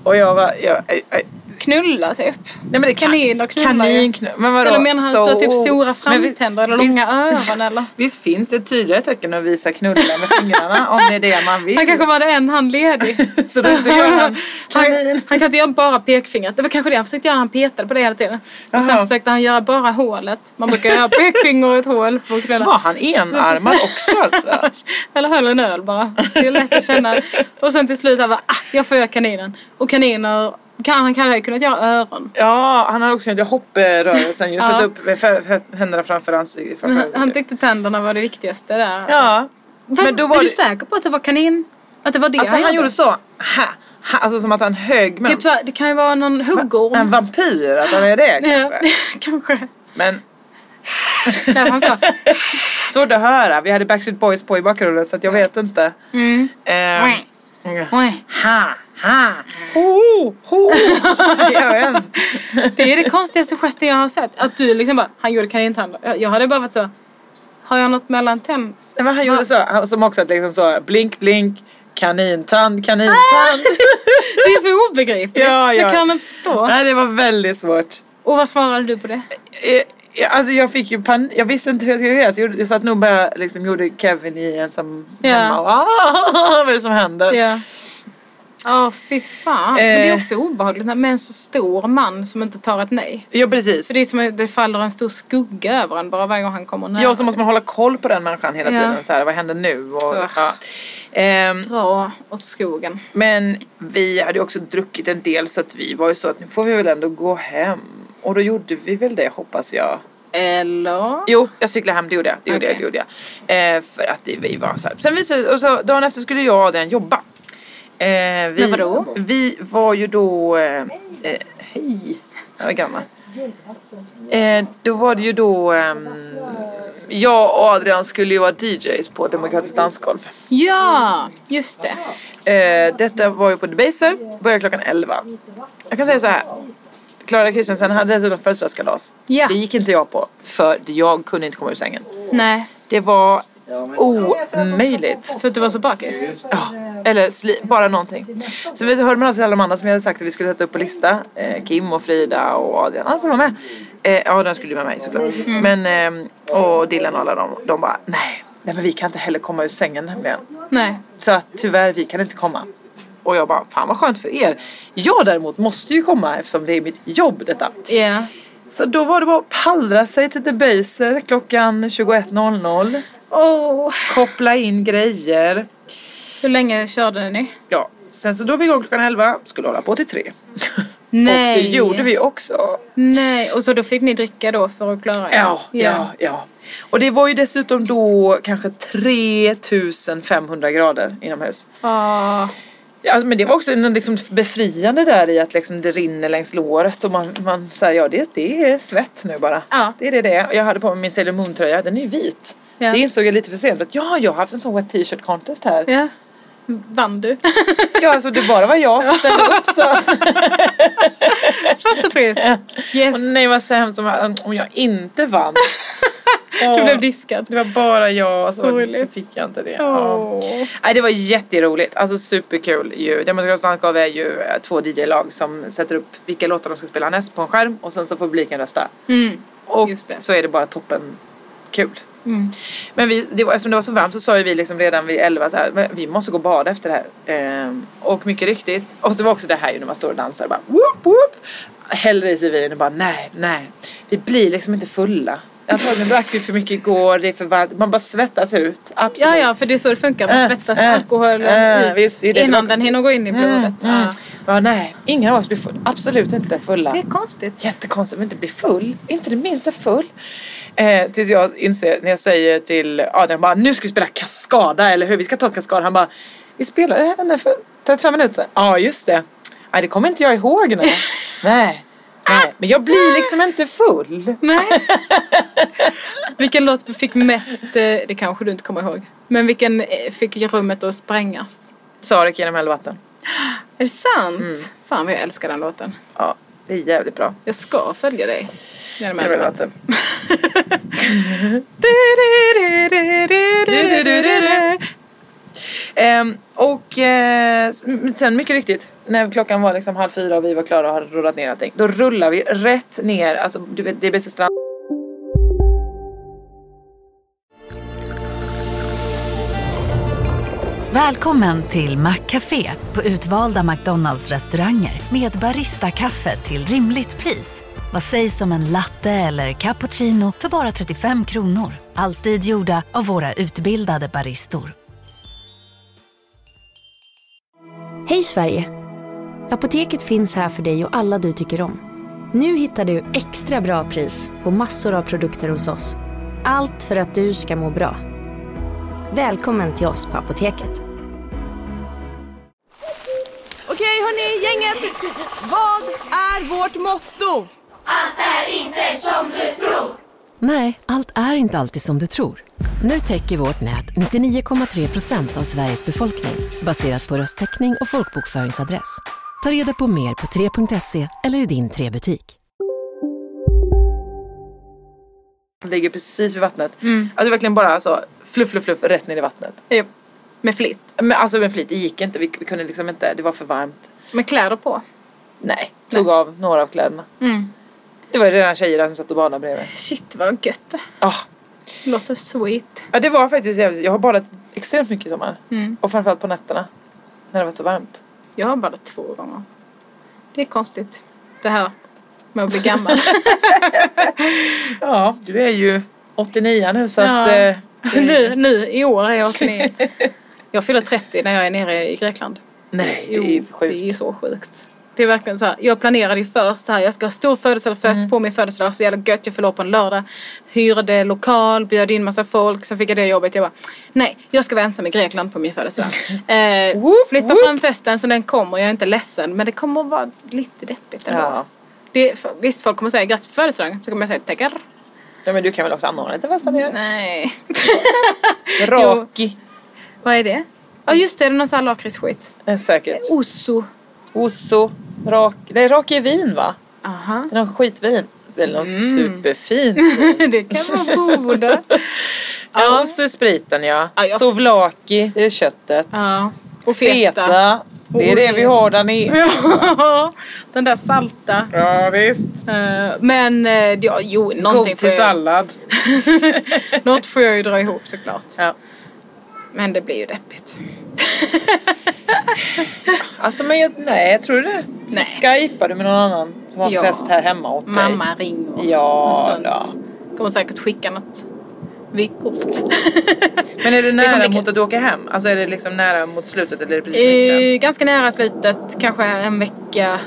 S2: Och jag var... Jag, jag, jag,
S3: Knulla typ?
S2: nej men det kan,
S3: Kaniner knullar ju.
S2: Kaninknu- men vadå?
S3: Eller menar han
S2: Så-
S3: att du har typ stora
S2: Men visst-
S3: framtänder eller
S2: visst-
S3: långa öron eller?
S2: Visst finns det ett tydligare tecken att visa knulla med fingrarna om det är det man vill.
S3: Han kanske bara hade en hand ledig.
S2: Så då så gör han
S3: han,
S2: kanin.
S3: han kan inte göra bara pekfingret. Det var kanske det han försökte göra. Han petade på det hela tiden. Och sen
S2: Jaha.
S3: försökte han göra bara hålet. Man brukar göra pekfinger och ett hål för
S2: Var
S3: att knulla.
S2: han enarmad också alltså?
S3: Eller höll en öl bara. Det är lätt att känna. Och sen till slut han bara, ah, jag får göra kaninen. Och kaniner, kan, han kan ju kunnat göra öron.
S2: Ja, han har också gjort hopprörelsen ju.
S3: Ja.
S2: Satt upp med fö- fö- händerna framför hans... Framför
S3: Men Mm, han, han tyckte tänderna var det viktigaste där.
S2: Ja.
S3: Vem,
S2: Men då var
S3: är du
S2: det...
S3: säker på att det var kanin? Att det var det
S2: Alltså han
S3: gjorde?
S2: gjorde så. Ha, ha, alltså som att han högg med
S3: Typ så här, det kan ju vara någon huggorm.
S2: en vampyr. Att han är det kanske.
S3: Ja, kanske.
S2: Men
S3: Där han sa.
S2: svårt att höra. Vi hade Backstreet Boys på i bakgrunden så att jag vet inte.
S3: Mm.
S2: Ehm,
S3: Oj. Oj.
S2: ha, ha, ho, ho. jag vet inte.
S3: Det är det konstigaste gesten jag har sett. Att du liksom bara, han gjorde kanintänder. Jag- Jag hade bara varit så, har jag något mellan tänd?
S2: Nej, Men han gjorde så. Han- Som också att liksom så blink blink. Kanintand,
S3: Ah!
S2: kanintand.
S3: Det är för obegripligt.
S2: Ja, ja.
S3: Jag kan inte förstå.
S2: Nej, det var väldigt svårt.
S3: Och vad svarade du på det?
S2: Eh, eh, Alltså jag fick ju pan- jag visste inte hur jag skulle reagera. Så jag gjorde- Jag satt nog bara liksom gjorde Kevin i ensam
S3: Ja.
S2: hemma och ah, vad är det som händer?
S3: Ja. Ja, fy fan. Men det är
S2: Eh.
S3: också obehagligt när- med en så stor man som inte tar ett nej.
S2: Ja precis.
S3: För det är som att det faller en stor skugga över en bara varje gång han kommer nära.
S2: Ja, så måste man hålla koll på den människan hela
S3: Ja.
S2: tiden. Så här, vad händer nu? Och,
S3: Ugh.
S2: ja. Ehm,
S3: Dra åt skogen.
S2: men vi hade ju också druckit en del så att vi var ju så att nu får vi väl ändå gå hem. Och då gjorde vi väl det hoppas jag.
S3: Eller?
S2: Jo, jag cyklade hem, det gjorde jag. Det gjorde jag, det
S3: Okej.
S2: gjorde jag. Eh, för att det, vi var så här. Sen visade och så dagen efter skulle jag och Adrian jobba. Eh, vi,
S3: Men vadå?
S2: Vi var ju då... Eh, eh, hej! Jag är gammal. Eh, då var det ju då... ehm, jag och Adrian skulle ju vara DJs på Demokratiskt dansgolv.
S3: Ja, just det.
S2: Eh, detta var ju på Debaser, började klockan 11. Jag kan säga så här. Klara Kristensen hade dessutom födelsedagskalas.
S3: Ja.
S2: Det gick inte jag på, för jag kunde inte komma ur sängen.
S3: Nej,
S2: Det var omöjligt.
S3: för att du var så bakis.
S2: Ja, eller sli- bara någonting. Så vi hörde med oss till alla de andra som vi hade sagt att vi skulle sätta upp på lista. Eh, Kim och Frida och Adrian, alla som var med. Eh, Adrian skulle ju med mig såklart. Men, ehm, och Dylan och alla de, de bara nej, nej men vi kan inte heller komma ur sängen nämligen.
S3: Nej.
S2: Så att tyvärr, vi kan inte komma. Och jag bara, fan vad skönt för er. Jag däremot måste ju komma eftersom det är mitt jobb detta.
S3: Ja.
S2: Så då var det bara att pallra sig till Debaser klockan 21.00.
S3: Åh.
S2: Koppla in grejer.
S3: Hur länge körde ni?
S2: Ja, sen så drog vi igång klockan 11, skulle hålla på till 3.
S3: Nej.
S2: Och det gjorde vi också.
S3: Nej, och så då fick ni dricka då för att klara er?
S2: Ja, ja, ja. Och det var ju dessutom då kanske 3500 grader inomhus.
S3: Ah,
S2: Ja, Alltså, men det var också en liksom befriande där i att liksom det rinner längs låret och man, man säger ja det, det är svett nu bara.
S3: Ja.
S2: Det är det det är. Och Jag hade på mig min Sailor Moon-tröja, den är ju vit.
S3: Ja.
S2: Det insåg jag lite för sent att ja, jag har haft en sån wet t-shirt contest här.
S3: ja. Vann du?
S2: Ja, alltså det bara var jag som ställde upp så.
S3: Första pris! Yes,
S2: Och nej vad sämst om, om jag inte vann. Åh,
S3: du blev diskad.
S2: det var bara jag så,
S3: Sorgligt.
S2: så fick jag inte det. Ja.
S3: Åh.
S2: Nej, det var jätteroligt, alltså superkul ju. Demokratiska landskap är ju eh, två DJ-lag som sätter upp vilka låtar de ska spela näst på en skärm och sen så får publiken rösta.
S3: Mm.
S2: Och
S3: Just det.
S2: så är det bara toppen kul.
S3: Mm.
S2: Men vi, det var, eftersom det var så varmt så sa ju vi liksom redan vid 11 så här, "Men vi måste gå och bada efter det här. Ehm, och mycket riktigt, och det var också det här ju när man står och dansar bara whoop whoop. Häller i sig vin och bara nej, nej. Vi blir liksom inte fulla. antagligen drack vi för mycket igår, det är för varmt. Man bara svettas ut. Absolut.
S3: Ja, ja, för det är så det funkar. Man
S2: Äh,
S3: svettas
S2: äh,
S3: alkoholen
S2: äh,
S3: ut
S2: visst, det är det.
S3: innan den hinner gå in i blodet.
S2: Mm.
S3: Ja.
S2: Ja, nej, ingen av oss blir full. Absolut inte fulla.
S3: Det är konstigt.
S2: Jättekonstigt, men inte bli full. Inte det minsta full. Eh, tills jag inser, när jag säger till Adam bara, nu ska vi spela Kaskada, eller hur? Vi ska ta Kaskada. Han bara, vi spelade henne för 35 minuter sedan. Ja, just det. Nej, det kommer inte jag ihåg nu. nej. nej. Men jag blir liksom inte full.
S3: Nej. vilken låt fick mest, eh, det kanske du inte kommer ihåg, men vilken eh, fick rummet att sprängas?
S2: Sarek genom hela vatten.
S3: Är det sant? Fan vad jag älskar den låten.
S2: Ja, det är jävligt bra.
S3: Jag ska följa dig. Genom
S2: Genom hela
S3: hela
S2: vatten.
S3: vatten.
S2: Ehm, och eh, s- men sen mycket riktigt, när klockan var liksom halv fyra och vi var klara och hade rullat ner allting, då rullar vi rätt ner, alltså du vet, det är bästa strand
S1: Välkommen till Maccafé på utvalda McDonalds restauranger med Baristakaffe till rimligt pris. Vad sägs om en latte eller cappuccino för bara 35 kronor? Alltid gjorda av våra utbildade baristor.
S4: Hej Sverige! Apoteket finns här för dig och alla du tycker om. Nu hittar du extra bra pris på massor av produkter hos oss. Allt för att du ska må bra. Välkommen till oss på Apoteket.
S5: Okej hörni, gänget. Vad är vårt motto?
S6: Nej, allt är inte alltid som du tror. Nu täcker vårt nät 99,3 procent av Sveriges befolkning baserat på röstteckning och folkbokföringsadress. Ta reda på mer på 3.se eller i din 3-butik.
S2: ligger precis vid vattnet. Alltså verkligen bara så, fluff, fluff, fluff, rätt ner i vattnet.
S3: Japp. Eh, Med flit.
S2: Men alltså med flit, det gick inte, vi, vi kunde liksom inte, det var för varmt.
S3: Med kläder på.
S2: Nej, tog av några av kläderna. Det var ju redan tjejer där som satt och badade bredvid.
S3: Shit vad gött det
S2: Ah.
S3: Låter sweet.
S2: Ja, det var faktiskt jävligt, jag har badat extremt mycket i sommar. Och framförallt på nätterna, när det var så varmt.
S3: Jag har badat två gånger. Det är konstigt. Det här med att bli gammal.
S2: Ja, du är ju 89 nu så
S3: Ja.
S2: att... Eh,
S3: alltså nu, nu i år är jag 89. Jag fyller 30 när jag är nere i Grekland.
S2: nej, det är ju sjukt.
S3: det är ju så sjukt. Det är verkligen så här. Jag planerade ju först så här. Jag ska ha stor födelsedagsfest
S2: Mm.
S3: på min födelsedag. Så jävla gött. Jag fyller år på en lördag. Hyrde lokal, bjöd in massa folk. Sen fick jag det jobbet. Jag bara, nej, jag ska vara ensam i Grekland på min födelsedag. eh,
S2: Whoop,
S3: flytta
S2: whoop.
S3: fram festen så den kommer. Jag är inte ledsen. Men det kommer att vara lite deppigt ändå.
S2: Ja.
S3: Det är, för- visst, folk kommer säga grattis på födelsedagen. Så kommer jag säga tackar.
S2: ja, men du kan väl också anordna lite fest där nere?
S3: Nej.
S2: Raki.
S3: Vad är det? Ja just det, det är någon sån här lakritsskit.
S2: Eh, Säkert.
S3: Osso.
S2: Osso. Rak. Nej, raki är vin va?
S3: Aha.
S2: Det är Någon skitvin. Eller något
S3: Mm.
S2: superfint vin.
S3: Det kan vara goda.
S2: ja. Och så spriten ja.
S3: Ja, jag-
S2: Sovlaki, det är köttet.
S3: Ja. Och
S2: Feta.
S3: feta. Oh, Mm.
S2: det är det vi har där nere.
S3: Ja, Den där salta.
S2: Ja visst.
S3: Eh, Men eh, ja, jo, någonting
S2: God
S3: får,
S2: till
S3: jag,
S2: sallad.
S3: något får jag ju dra ihop såklart.
S2: Ja.
S3: Men det blir ju deppigt.
S2: Alltså men jag, nej, tror du det? Så
S3: Nej.
S2: skypar du med någon annan som har
S3: Ja.
S2: fest här hemma åt dig?
S3: Mamma ringer. och
S2: Ja
S3: sånt.
S2: då.
S3: Kommer säkert skicka något vykort.
S2: Men är det
S3: kommer
S2: nära
S3: bli kul.
S2: mot att åka hem? Alltså är det liksom nära mot slutet eller är det precis mitten?
S3: Eh, Ganska nära slutet, kanske en vecka,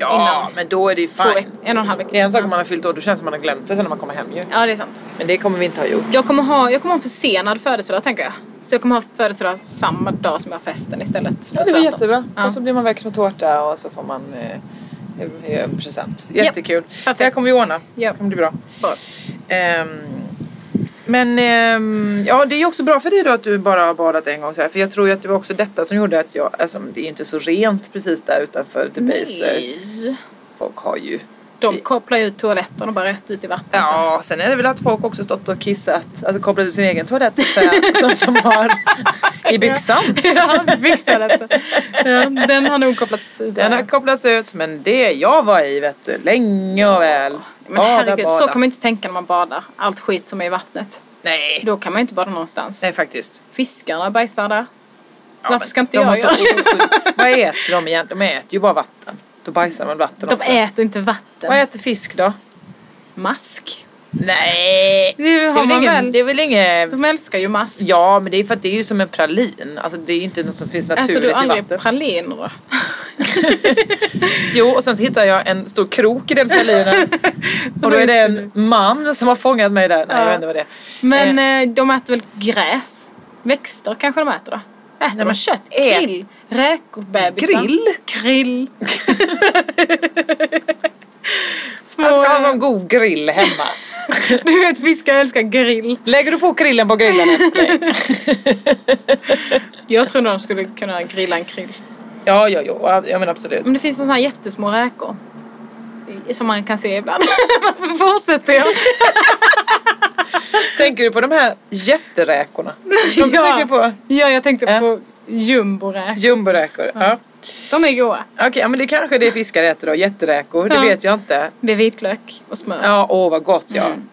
S2: Ja,
S3: innan.
S2: men då är det ju
S3: två
S2: fine.
S3: veckor, en och en halv vecka.
S2: Det är en sak om man har fyllt år, då känns det som man har glömt det sen när man kommer hem ju.
S3: Ja, det är sant.
S2: Men det kommer vi inte ha gjort.
S3: Jag kommer ha, jag kommer ha en försenad födelsedag tänker jag. Så jag kommer ha födelsedag samma dag som jag har festen istället.
S2: Ja,
S3: för
S2: det var
S3: tvärtom.
S2: jättebra.
S3: Ja.
S2: Och så blir man växt med tårta och så får man eh, eh, en present. Jättekul.
S3: Perfekt.
S2: Det här kommer vi ordna.
S3: Ja.
S2: Det kommer bli bra.
S3: Bra.
S2: Ehm, men ehm, ja, det är ju också bra för dig då att du bara har badat en gång så här. För jag tror ju att det var också detta som gjorde att jag, alltså det är ju inte så rent precis där utanför Debaser.
S3: Nej.
S2: Folk har ju
S3: De kopplar ju ut toaletten och bara rätt ut i vattnet.
S2: Ja, sen är det väl att folk också stått och kissat, alltså kopplat ut sin egen toalett så att säga, som, som har i byxan.
S3: Ja, byxtoaletten. Ja, den har nog kopplats ut.
S2: Den har kopplats ut, men det jag var i vet du, länge och väl.
S3: Men herregud, så kan man ju inte tänka när man badar. Allt skit som är i vattnet.
S2: Nej.
S3: Då kan man ju inte bada någonstans.
S2: Nej, faktiskt.
S3: Fiskarna bajsar där. Varför ska inte
S2: de har
S3: jag
S2: så
S3: göra det?
S2: osjukt- Vad äter de egentligen? De äter ju bara vatten. Då bajsar de vatten
S3: De
S2: också.
S3: äter inte vatten.
S2: Vad äter fisk då?
S3: Mask.
S2: Nej!
S3: Det
S2: Det är
S3: har
S2: väl
S3: man
S2: ingen...
S3: väl.
S2: Det är väl ingen
S3: De älskar ju mask.
S2: ja, men det är för att det är ju som en pralin. Alltså det är ju inte något som finns
S3: Äter du
S2: naturligt i
S3: aldrig
S2: vatten.
S3: praliner då?
S2: Jo, och sen så hittar jag en stor krok i den pralinen. och då är det en man som har fångat mig där. Nej, jag
S3: Ja.
S2: vet inte vad det är.
S3: Men eh, de äter väl gräs? Växter kanske de äter då? Äter de
S2: men
S3: kött?
S2: ät-
S3: Krill? Räkor? Bebisar?
S2: Grill?
S3: Krill. Små,
S2: Jag ska ha en god grill hemma.
S3: du vet fiskar älskar grill.
S2: Lägger du på grillen på grillen efter dig?
S3: Jag tror nog de skulle kunna grilla en krill.
S2: Ja, ja, ja. Jag menar absolut.
S3: Men det finns sådana här jättesmå räkor. Som man kan se ibland. Varför fortsätter jag?
S2: Tänker du på de här jätteräkorna? De
S3: Ja.
S2: tänker på
S3: Ja, jag tänkte
S2: Ja.
S3: på jumboräkor.
S2: jumboräkor. Ja.
S3: De är goda.
S2: Okej, ja, men det kanske är det fiskar äter då. Jätteräkor, det
S3: Ja.
S2: vet jag inte.
S3: Med vitlök och smör.
S2: Ja, åh vad gott ja.
S3: Mm.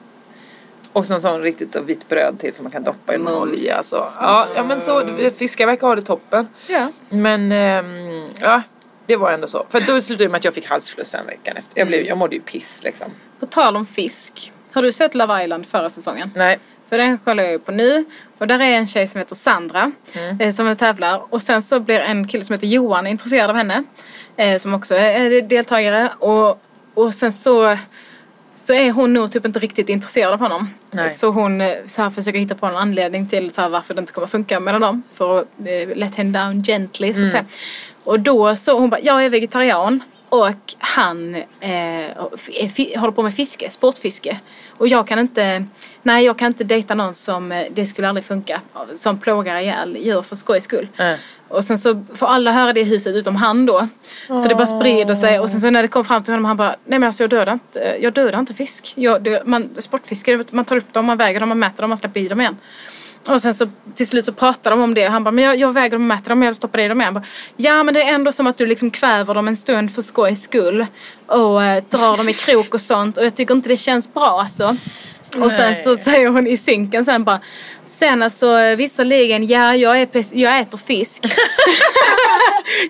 S2: Och sen sån riktigt så vitt bröd till som man kan doppa i någon
S3: Mums.
S2: olja. Så. Ja, ja, men så fiskar verkar ha det toppen.
S3: Ja.
S2: Men ehm, ja, det var ändå så. För då slutade det med att jag fick halsfluss en veckan efter. Jag,
S3: Mm.
S2: blev, jag mådde ju piss liksom.
S3: På tal om fisk. Har du sett Love Island förra säsongen?
S2: Nej.
S3: För den kollar jag ju på nu. Och där är en tjej som heter Sandra eh, som tävlar. Och sen så blir en kille som heter Johan intresserad av henne. Eh, som också är deltagare. Och, och sen så, så är hon nog typ inte riktigt intresserad av honom.
S2: Nej.
S3: Så hon eh, så här, försöker hitta på en anledning till så här, varför det inte kommer funka mellan dem. För att eh, let him down gently så att säga. Och då så hon bara, jag är vegetarian. Och han eh, är fi- håller på med fiske, sportfiske. Och jag kan inte, nej jag kan inte dejta någon som, eh, det skulle aldrig funka, som plågar ihjäl djur för skojs skull.
S2: Äh.
S3: Och sen så får alla höra det i huset utom han då. Så det bara sprider sig och sen så när det kom fram till honom han bara, nej men alltså jag dödar inte, jag dödar inte fisk. Jag, det, man, sportfiske, man tar upp dem, man väger dem, man mäter dem, man släpper i dem igen. Och sen så till slut så pratar de om det. Han bara, men jag, jag väger dem och mäter dem och jag stoppar i dem igen. Bara, ja men det är ändå som att du liksom kväver dem en stund för skojs skull. Och eh, drar dem i krok och sånt. Och jag tycker inte det känns bra alltså. Och sen så säger hon i synken sen bara. Sen alltså eh, visserligen, ja jag, är pes- jag äter fisk.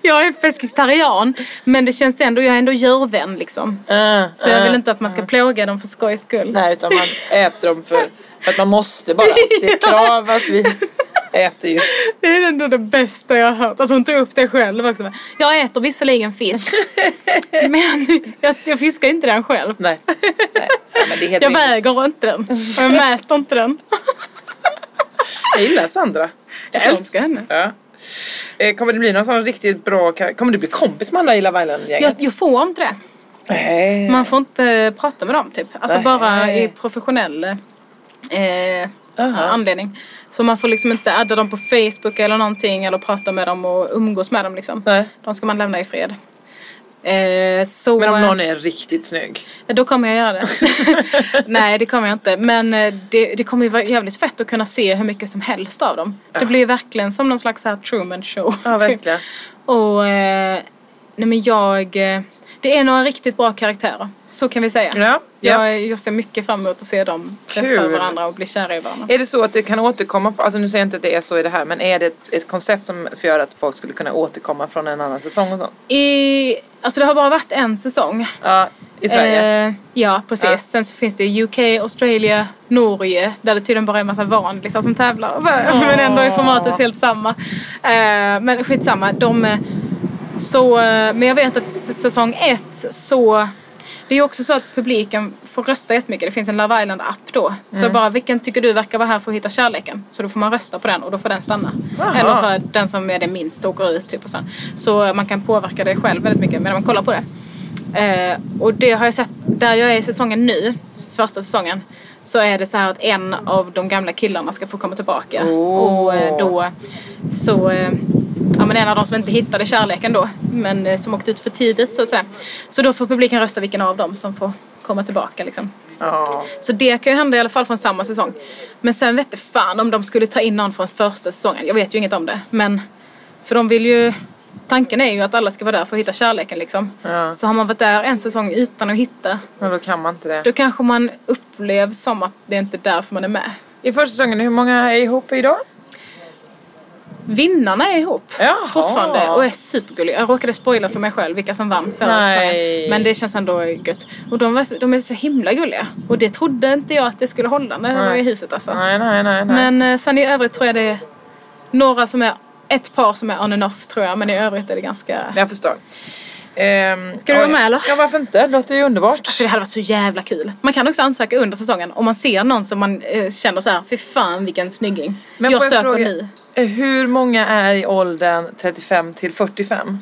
S3: jag är pescetarian. Men det känns ändå, jag är ändå djurvän liksom.
S2: Äh,
S3: Så jag
S2: äh.
S3: vill inte att man ska plåga dem för skojs skull.
S2: Nej, utan man äter dem för att man måste bara. Det är ett krav att vi äter just
S3: Det är ändå det bästa jag har hört. Att hon tog upp det själv också. Jag äter visserligen fisk. men jag, jag fiskar inte den själv.
S2: Nej. Nej. Men det är helt
S3: Jag
S2: rimligt.
S3: väger inte den. Och jag mäter inte den.
S2: Jag gillar Sandra.
S3: Jag älskar henne.
S2: Ja. Eh, Kommer det bli någon sån riktigt bra kar- Kommer du bli kompis med alla i Love
S3: Jag,
S2: Island-gänget?
S3: jag får inte det.
S2: Nej.
S3: Man får inte eh, prata med dem typ. Alltså
S2: Nej.
S3: bara i professionell eh, anledning. Så man får liksom inte adda dem på Facebook eller någonting eller prata med dem och umgås med dem liksom.
S2: Nej.
S3: De ska man lämna i fred. Eh, så,
S2: Men om någon är riktigt snygg.
S3: Då kommer jag göra det. Nej, det kommer jag inte. Men eh, det, det kommer ju vara jävligt fett att kunna se hur mycket som helst av dem. Det blir ju verkligen som någon slags så här Truman show. typ.
S2: Ja, verkligen.
S3: Och eh, nej men jag... eh, Det är några riktigt bra karaktärer. Så kan vi säga.
S2: Ja, ja.
S3: Jag, jag ser mycket fram emot att se dem träffa
S2: Kul.
S3: varandra och bli kära i varandra.
S2: Är det så att det kan återkomma, alltså nu säger jag inte att det är så i det här, men är det ett, ett koncept som gör att folk skulle kunna återkomma från en annan säsong och sånt?
S3: I, alltså det har bara varit en säsong.
S2: Ja, i Sverige.
S3: Eh, ja, precis.
S2: Ja.
S3: Sen så finns det UK, Australien, Norge där det tydligen bara är en massa vanlisar som tävlar. och Så, här. Men ändå är formatet helt samma. Eh, men skitsamma. De, eh, så, eh, men jag vet att s- säsong ett så... Det är ju också så att publiken får rösta jättemycket. Det finns en Love Island-app då. Så bara vilken tycker du verkar vara här för att hitta kärleken? Så då får man rösta på den och då får den stanna.
S2: Jaha.
S3: Eller så här, den som är det minst åker ut typ och sen. Så eh, man kan påverka det själv väldigt mycket medan man kollar på det. Eh, och det har jag sett, där jag är i säsongen nu, första säsongen, så är det så här att en av de gamla killarna ska få komma tillbaka.
S2: Åh.
S3: Och eh, då så, eh, ja men en av de som inte hittade kärleken då, men eh, som åkte ut för tidigt så att säga. Så då får publiken rösta vilken av dem som får komma tillbaka liksom.
S2: Ja.
S3: Så det kan ju hända i alla fall från samma säsong. Men sen vet jag fan om de skulle ta in någon från första säsongen. Jag vet ju inget om det. Men för de vill ju... Tanken är ju att alla ska vara där för att hitta kärleken liksom.
S2: Ja.
S3: Så har man varit där en säsong utan att hitta.
S2: Men då kan man inte det.
S3: Då kanske man upplevs som att det inte är därför man är med.
S2: I första säsongen, hur många är ihop idag?
S3: Vinnarna är ihop
S2: Jaha.
S3: fortfarande och är supergulliga. Jag råkade spoila för mig själv vilka som vann förra
S2: Nej.
S3: säsongen. Men det känns ändå gött. Och de, var, de är så himla gulliga. Och det trodde inte jag att det skulle hålla när jag var
S2: Nej.
S3: i huset alltså.
S2: Nej, nej, nej. nej.
S3: Men eh, sen i övrigt tror jag det är några som är ett par som är on and off tror jag men i övrigt är det ganska...
S2: Nej, Jag förstår. Ehm,
S3: Ska du
S2: ja,
S3: vara med, eller?
S2: Ja, varför inte? Det låter ju underbart.
S3: Alltså det hade varit så jävla kul. Man kan också ansöka under säsongen om man ser någon som man eh, känner så här, fy fan vilken snygging.
S2: Men
S3: jag
S2: får
S3: söker
S2: jag fråga,
S3: nu.
S2: eh, Hur många är i åldern 35 till 45?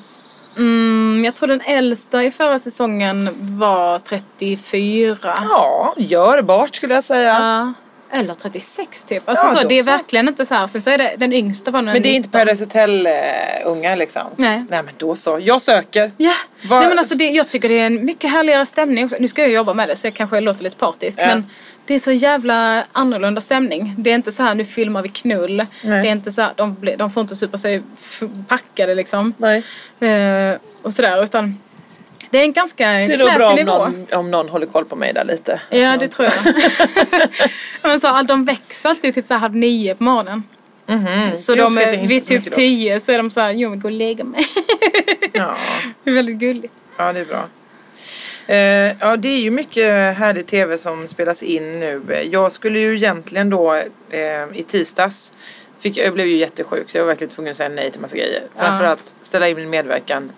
S3: Mm, jag tror den äldsta i förra säsongen var 34.
S2: Ja, görbart skulle jag säga.
S3: Ja. Eller 36 typ. Alltså
S2: Ja,
S3: så,
S2: då
S3: det är
S2: så.
S3: verkligen inte så här. Sen så är det den yngsta var
S2: men det är inte Paradise Hotel-unga liksom?
S3: Nej.
S2: Nej, men då så. Jag söker.
S3: Ja,
S2: Vad-
S3: Nej, men alltså det, jag tycker det är en mycket härligare stämning. Nu ska jag jobba med det så jag kanske låter lite partisk.
S2: Ja.
S3: Men det är så jävla annorlunda stämning. Det är inte så här nu filmar vi knull. Det är inte så här, de, blir- de får inte supa sig f- packade liksom.
S2: Nej.
S3: Eh, och sådär utan det är en ganska
S2: Det är nog bra
S3: classy
S2: om
S3: nivå.
S2: någon, om någon håller koll på mig där lite. Alltså.
S3: Ja det tror jag. men så, all- de växer alltid typ så här halv nio på morgonen. Så
S2: Mhm. Det
S3: de,
S2: uppskattar jag
S3: är-
S2: inte
S3: vid
S2: så
S3: typ
S2: mycket då.
S3: tio så är de så här, jo men gå och lägga mig.
S2: Ja,
S3: det är väldigt gulligt.
S2: ja det är bra. Eh, ja, det är ju mycket härlig tv som spelas in nu. Jag skulle ju egentligen då eh, i tisdags Fick, jag blev ju jättesjuk så jag var verkligen tvungen att säga nej till massa grejer. Framförallt ställa in min medverkan,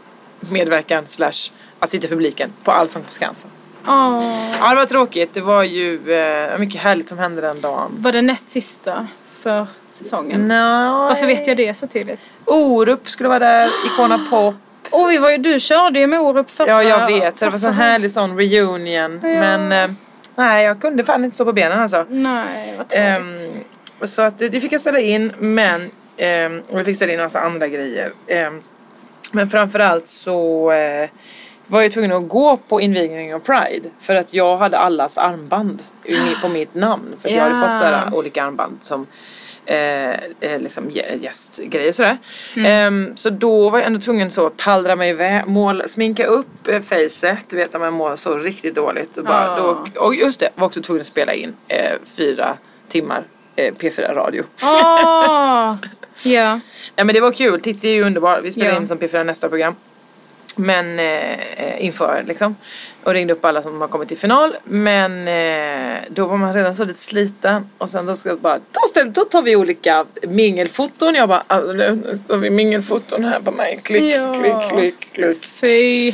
S2: medverkan slash att sitta i publiken på Allsång på Skansen.
S3: Åh.
S2: Ja det var tråkigt, det var ju eh, mycket härligt som hände den dagen.
S3: Var det näst sista för säsongen?
S2: Nej.
S3: Mm. Varför vet jag det så tydligt?
S2: Orup skulle vara där, Icona Pop.
S3: Oj, vad, du körde ju med Orup förra...
S2: Ja, jag vet. Så det var sån härlig sån reunion. Men eh, nej, jag kunde fan inte stå på benen alltså.
S3: Nej, vad
S2: Ehm,
S3: tråkigt.
S2: och så att det det fick jag ställa in, men... ehm, och jag fick ställa in massa andra grejer. Ehm, men framförallt så eh, var jag tvungen att gå på invigningen av Pride. För att jag hade allas armband i mi- på mitt namn. För att jag hade
S3: Ja.
S2: fått så här, olika armband som eh, eh, liksom gä- gästgrejer och sådär. Ehm, så då var jag ändå tvungen så att pallra mig iväg, mål, sminka upp eh, facet, du vet när man mår så riktigt dåligt. Och, bara,
S3: Ah.
S2: då, och just det, var också tvungen att spela in eh, fyra timmar eh, P4 radio.
S3: Åh! Ja.
S2: Nej men det var kul, Titti är ju underbar. Vi spelar
S3: Ja.
S2: in som P4 nästa program. Men eh, eh, inför liksom. Och ringde upp alla som har kommit till final. Men eh, då var man redan så lite sliten. Och sen då ska jag bara, då, ställ, då tar vi olika mingelfoton. Jag bara, "Ah, nu tar vi mingelfoton här på mig. Klick,
S3: Ja.
S2: klick, klick, klick.
S3: Fy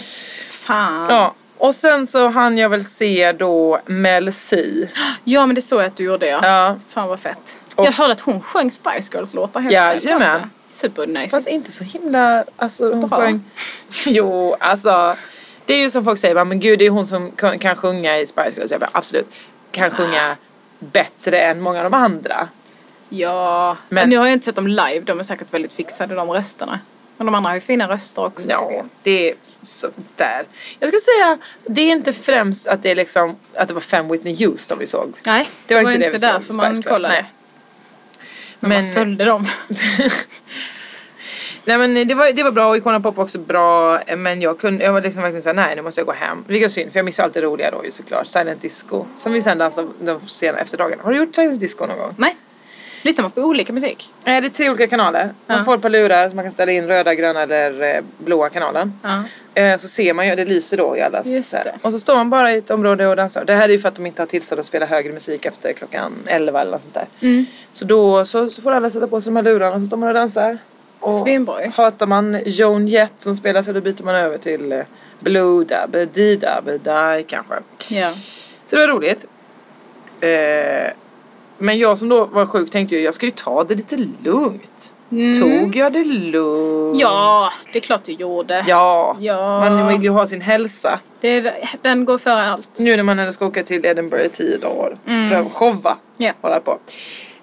S3: fan. Ja.
S2: Ja. Och sen så hann jag väl se då Mel C.
S3: men det såg jag att du gjorde ja.
S2: Ja.
S3: Fan vad fett.
S2: Och-
S3: jag hörde att hon sjöng Spice Girls-låtar helt
S2: Jajamän.
S3: själv också. Supernice.
S2: Fast inte så himla, alltså hon
S3: Bra.
S2: sjöng. Jo, alltså. Det är ju som folk säger, bara, men gud det är hon som kan, kan sjunga i Spice Girls. Jag bara, absolut. Kan sjunga bättre än många av de andra.
S3: Ja. Men.
S2: Men-
S3: nu har jag inte sett dem live. De är säkert väldigt fixade de rösterna. Men de andra har ju fina röster också. tycker
S2: Ja,
S3: jag.
S2: det är så där. Jag skulle säga, det är inte främst att det är liksom, att det var fem Whitney Houston vi såg.
S3: Nej,
S2: Det var inte det vi
S3: inte
S2: såg,
S3: därför man
S2: Spice Girls,
S3: kollade.
S2: nej.
S3: Men, man
S2: Men-
S3: följde dem.
S2: Nej men det var, det var bra och Icona Pop var också bra men jag kunde, jag var liksom verkligen såhär nej nu måste jag gå hem. Vilket är synd för jag missar allt det roliga då ju såklart. Silent Disco som vi sen dansade de sena efterdagen. Har du gjort Silent Disco någon gång?
S3: Nej. Lyssnar man på olika musik?
S2: Nej det är tre olika kanaler. Man
S3: Ja.
S2: får ett par lurar så man kan ställa in röda, gröna eller eh, blåa kanalen.
S3: Ja.
S2: Eh, Så ser man ju, det lyser då i allas.
S3: Just
S2: så här.
S3: det.
S2: Och så står man bara i ett område och dansar. Det här är ju för att de inte har tillstånd att spela högre musik efter klockan 11 eller något sånt där.
S3: Mm.
S2: Så då så, så får alla sätta på sig de här lurarna och så står man och dansar. Och
S3: Svinbra ju.
S2: hatar man Joan Jett som spelar så då byter man över till eh, Blue Dab, D-Dab, Die kanske.
S3: Ja.
S2: Så det var roligt. Eh, men jag som då var sjuk tänkte ju jag ska ju ta det lite lugnt. Tog jag det lugnt?
S3: Mm. ja, det är klart du gjorde.
S2: Ja,
S3: Ja.
S2: man vill ju ha sin hälsa.
S3: Det är, den går före allt.
S2: Nu när man ändå ska åka till Edinburgh i tio dagar för att showa.
S3: Mm. Ja.
S2: Hålla på.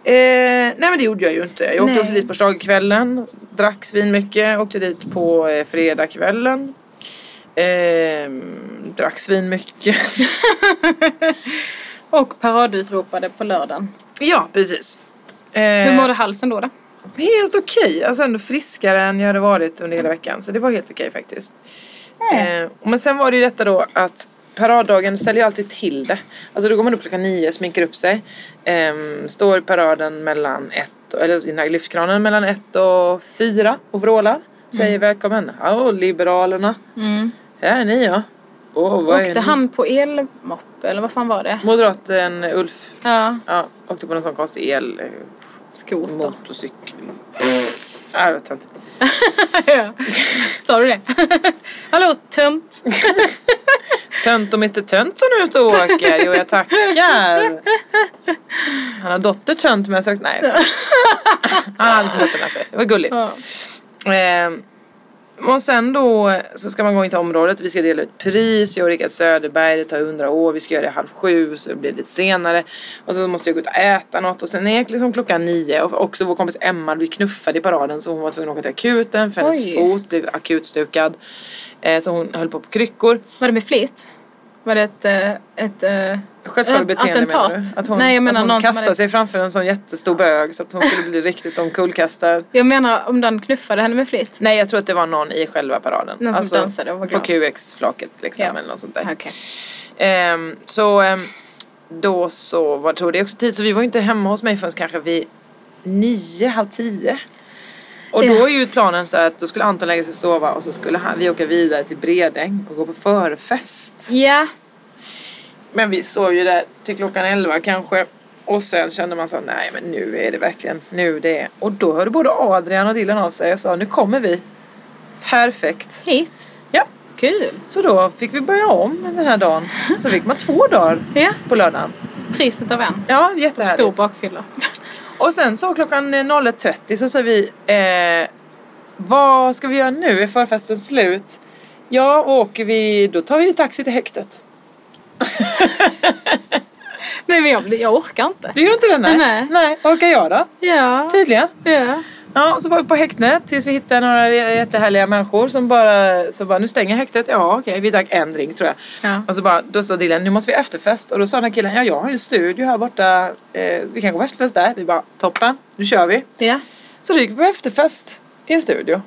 S2: Eh, nej men det gjorde jag ju inte. Jag åkte
S3: Nej.
S2: också dit på slagkvällen. Drack svin mycket. Åkte dit på eh, fredagskvällen. Ehm, drack svin mycket.
S3: Och paradutropade på lördagen.
S2: ja precis. Eh,
S3: Hur mådde halsen då? då?
S2: Helt okej. Alltså ändå friskare än jag hade varit under hela veckan. Så det var helt okej faktiskt. Eh, men sen var det ju detta då att paraddagen ställer ju alltid till det. Alltså då går man upp klockan nio, sminkar upp sig. ehm, står i paraden mellan ett ett, eller i den här lyftkranen mellan ett och fyra och vrålar. Säger välkommen. Hallå Liberalerna.
S3: Mm.
S2: Här är ni ja. Åh, vad är
S3: Åkte
S2: ni?
S3: han på elmoppe eller vad fan var det?
S2: Moderaten Ulf
S3: Ja,
S2: ja, åkte på någon sån konstig el... eh,
S3: skoter.
S2: Motorcykel. Ja, det var töntigt.
S3: Ja. Sa du det? Hallå tönt.
S2: Tönt och Mr Tönt som är ute och åker. Jo, jag tackar. Han har dotter Tönt med sig också. Nej. Han hade sin dotter med sig. Det var gulligt.
S3: Ja.
S2: Ehm, och sen då så ska man gå in till området. Vi ska dela ut pris. Jag och Rickard Söderberg. Det tar hundra år. Vi ska göra det halv sju. Så det blir lite senare. Och så måste jag gå ut och äta något. Och sen är det liksom klockan nio. Och också vår kompis Emma blev knuffad i paraden. Så hon var tvungen att åka till akuten. För hennes
S3: Oj.
S2: fot blev akutstukad. Eh, så hon höll på på kryckor.
S3: Var det med flit? Var det ett... eh, ett eh,
S2: Självskadebeteende
S3: Attentat.
S2: menar du? Att hon,
S3: Nej, jag menar
S2: att hon
S3: någon som
S2: kastade
S3: hade-
S2: sig framför en sån jättestor bög så att hon skulle bli riktigt som kullkastad.
S3: jag menar om den knuffade henne med flit?
S2: Nej jag tror att det var någon i själva paraden. Alltså,
S3: Någon som dansade och var
S2: På
S3: glad.
S2: QX-flaket liksom
S3: Ja.
S2: eller något sånt där.
S3: Okej.
S2: Ehm, så ehm, då så var tog det också tid så vi var ju inte hemma hos mig förrän kanske vid nio, halv tio. Och då
S3: Ja.
S2: är ju planen så att då skulle Anton lägga sig och sova och så skulle han, vi åka vidare till Bredäng och gå på förfest.
S3: Ja.
S2: Men vi sov ju där till klockan 11 kanske. Och sen kände man så nej men nu är det verkligen nu det är. Och då hörde både Adrian och Dylan av sig och sa nu kommer vi. Perfekt.
S3: Hit.
S2: Ja,
S3: Kul.
S2: så då fick vi börja om den här dagen. Så fick man två dagar
S3: Ja.
S2: på lördagen.
S3: Priset av en.
S2: Ja,
S3: Stor
S2: jättehärligt.
S3: bakfylla.
S2: Och sen så klockan eh, 01.30 så sa vi eh, vad ska vi göra nu? Är förfesten slut? Ja, åker vi, då tar vi ju taxi till häktet.
S3: Nej men jag, blir- jag orkar inte.
S2: Du gör inte det?
S3: Nej.
S2: nej. Orkar jag då?
S3: Ja. typ.
S2: Tydligen.
S3: ja.
S2: Ja, och så var vi på häktnet tills vi hittade några jättehärliga människor som bara, så bara nu stänger häktet. Ja, okej, vi drack en drink tror jag.
S3: Ja.
S2: Och så bara, då sa Dylan, nu måste vi ha efterfest. Och då sa den här killen, ja, jag har ju en studio här borta. Eh, vi kan gå på efterfest där. Vi bara, toppen, nu kör vi.
S3: ja.
S2: Så då gick vi på efterfest i en studio.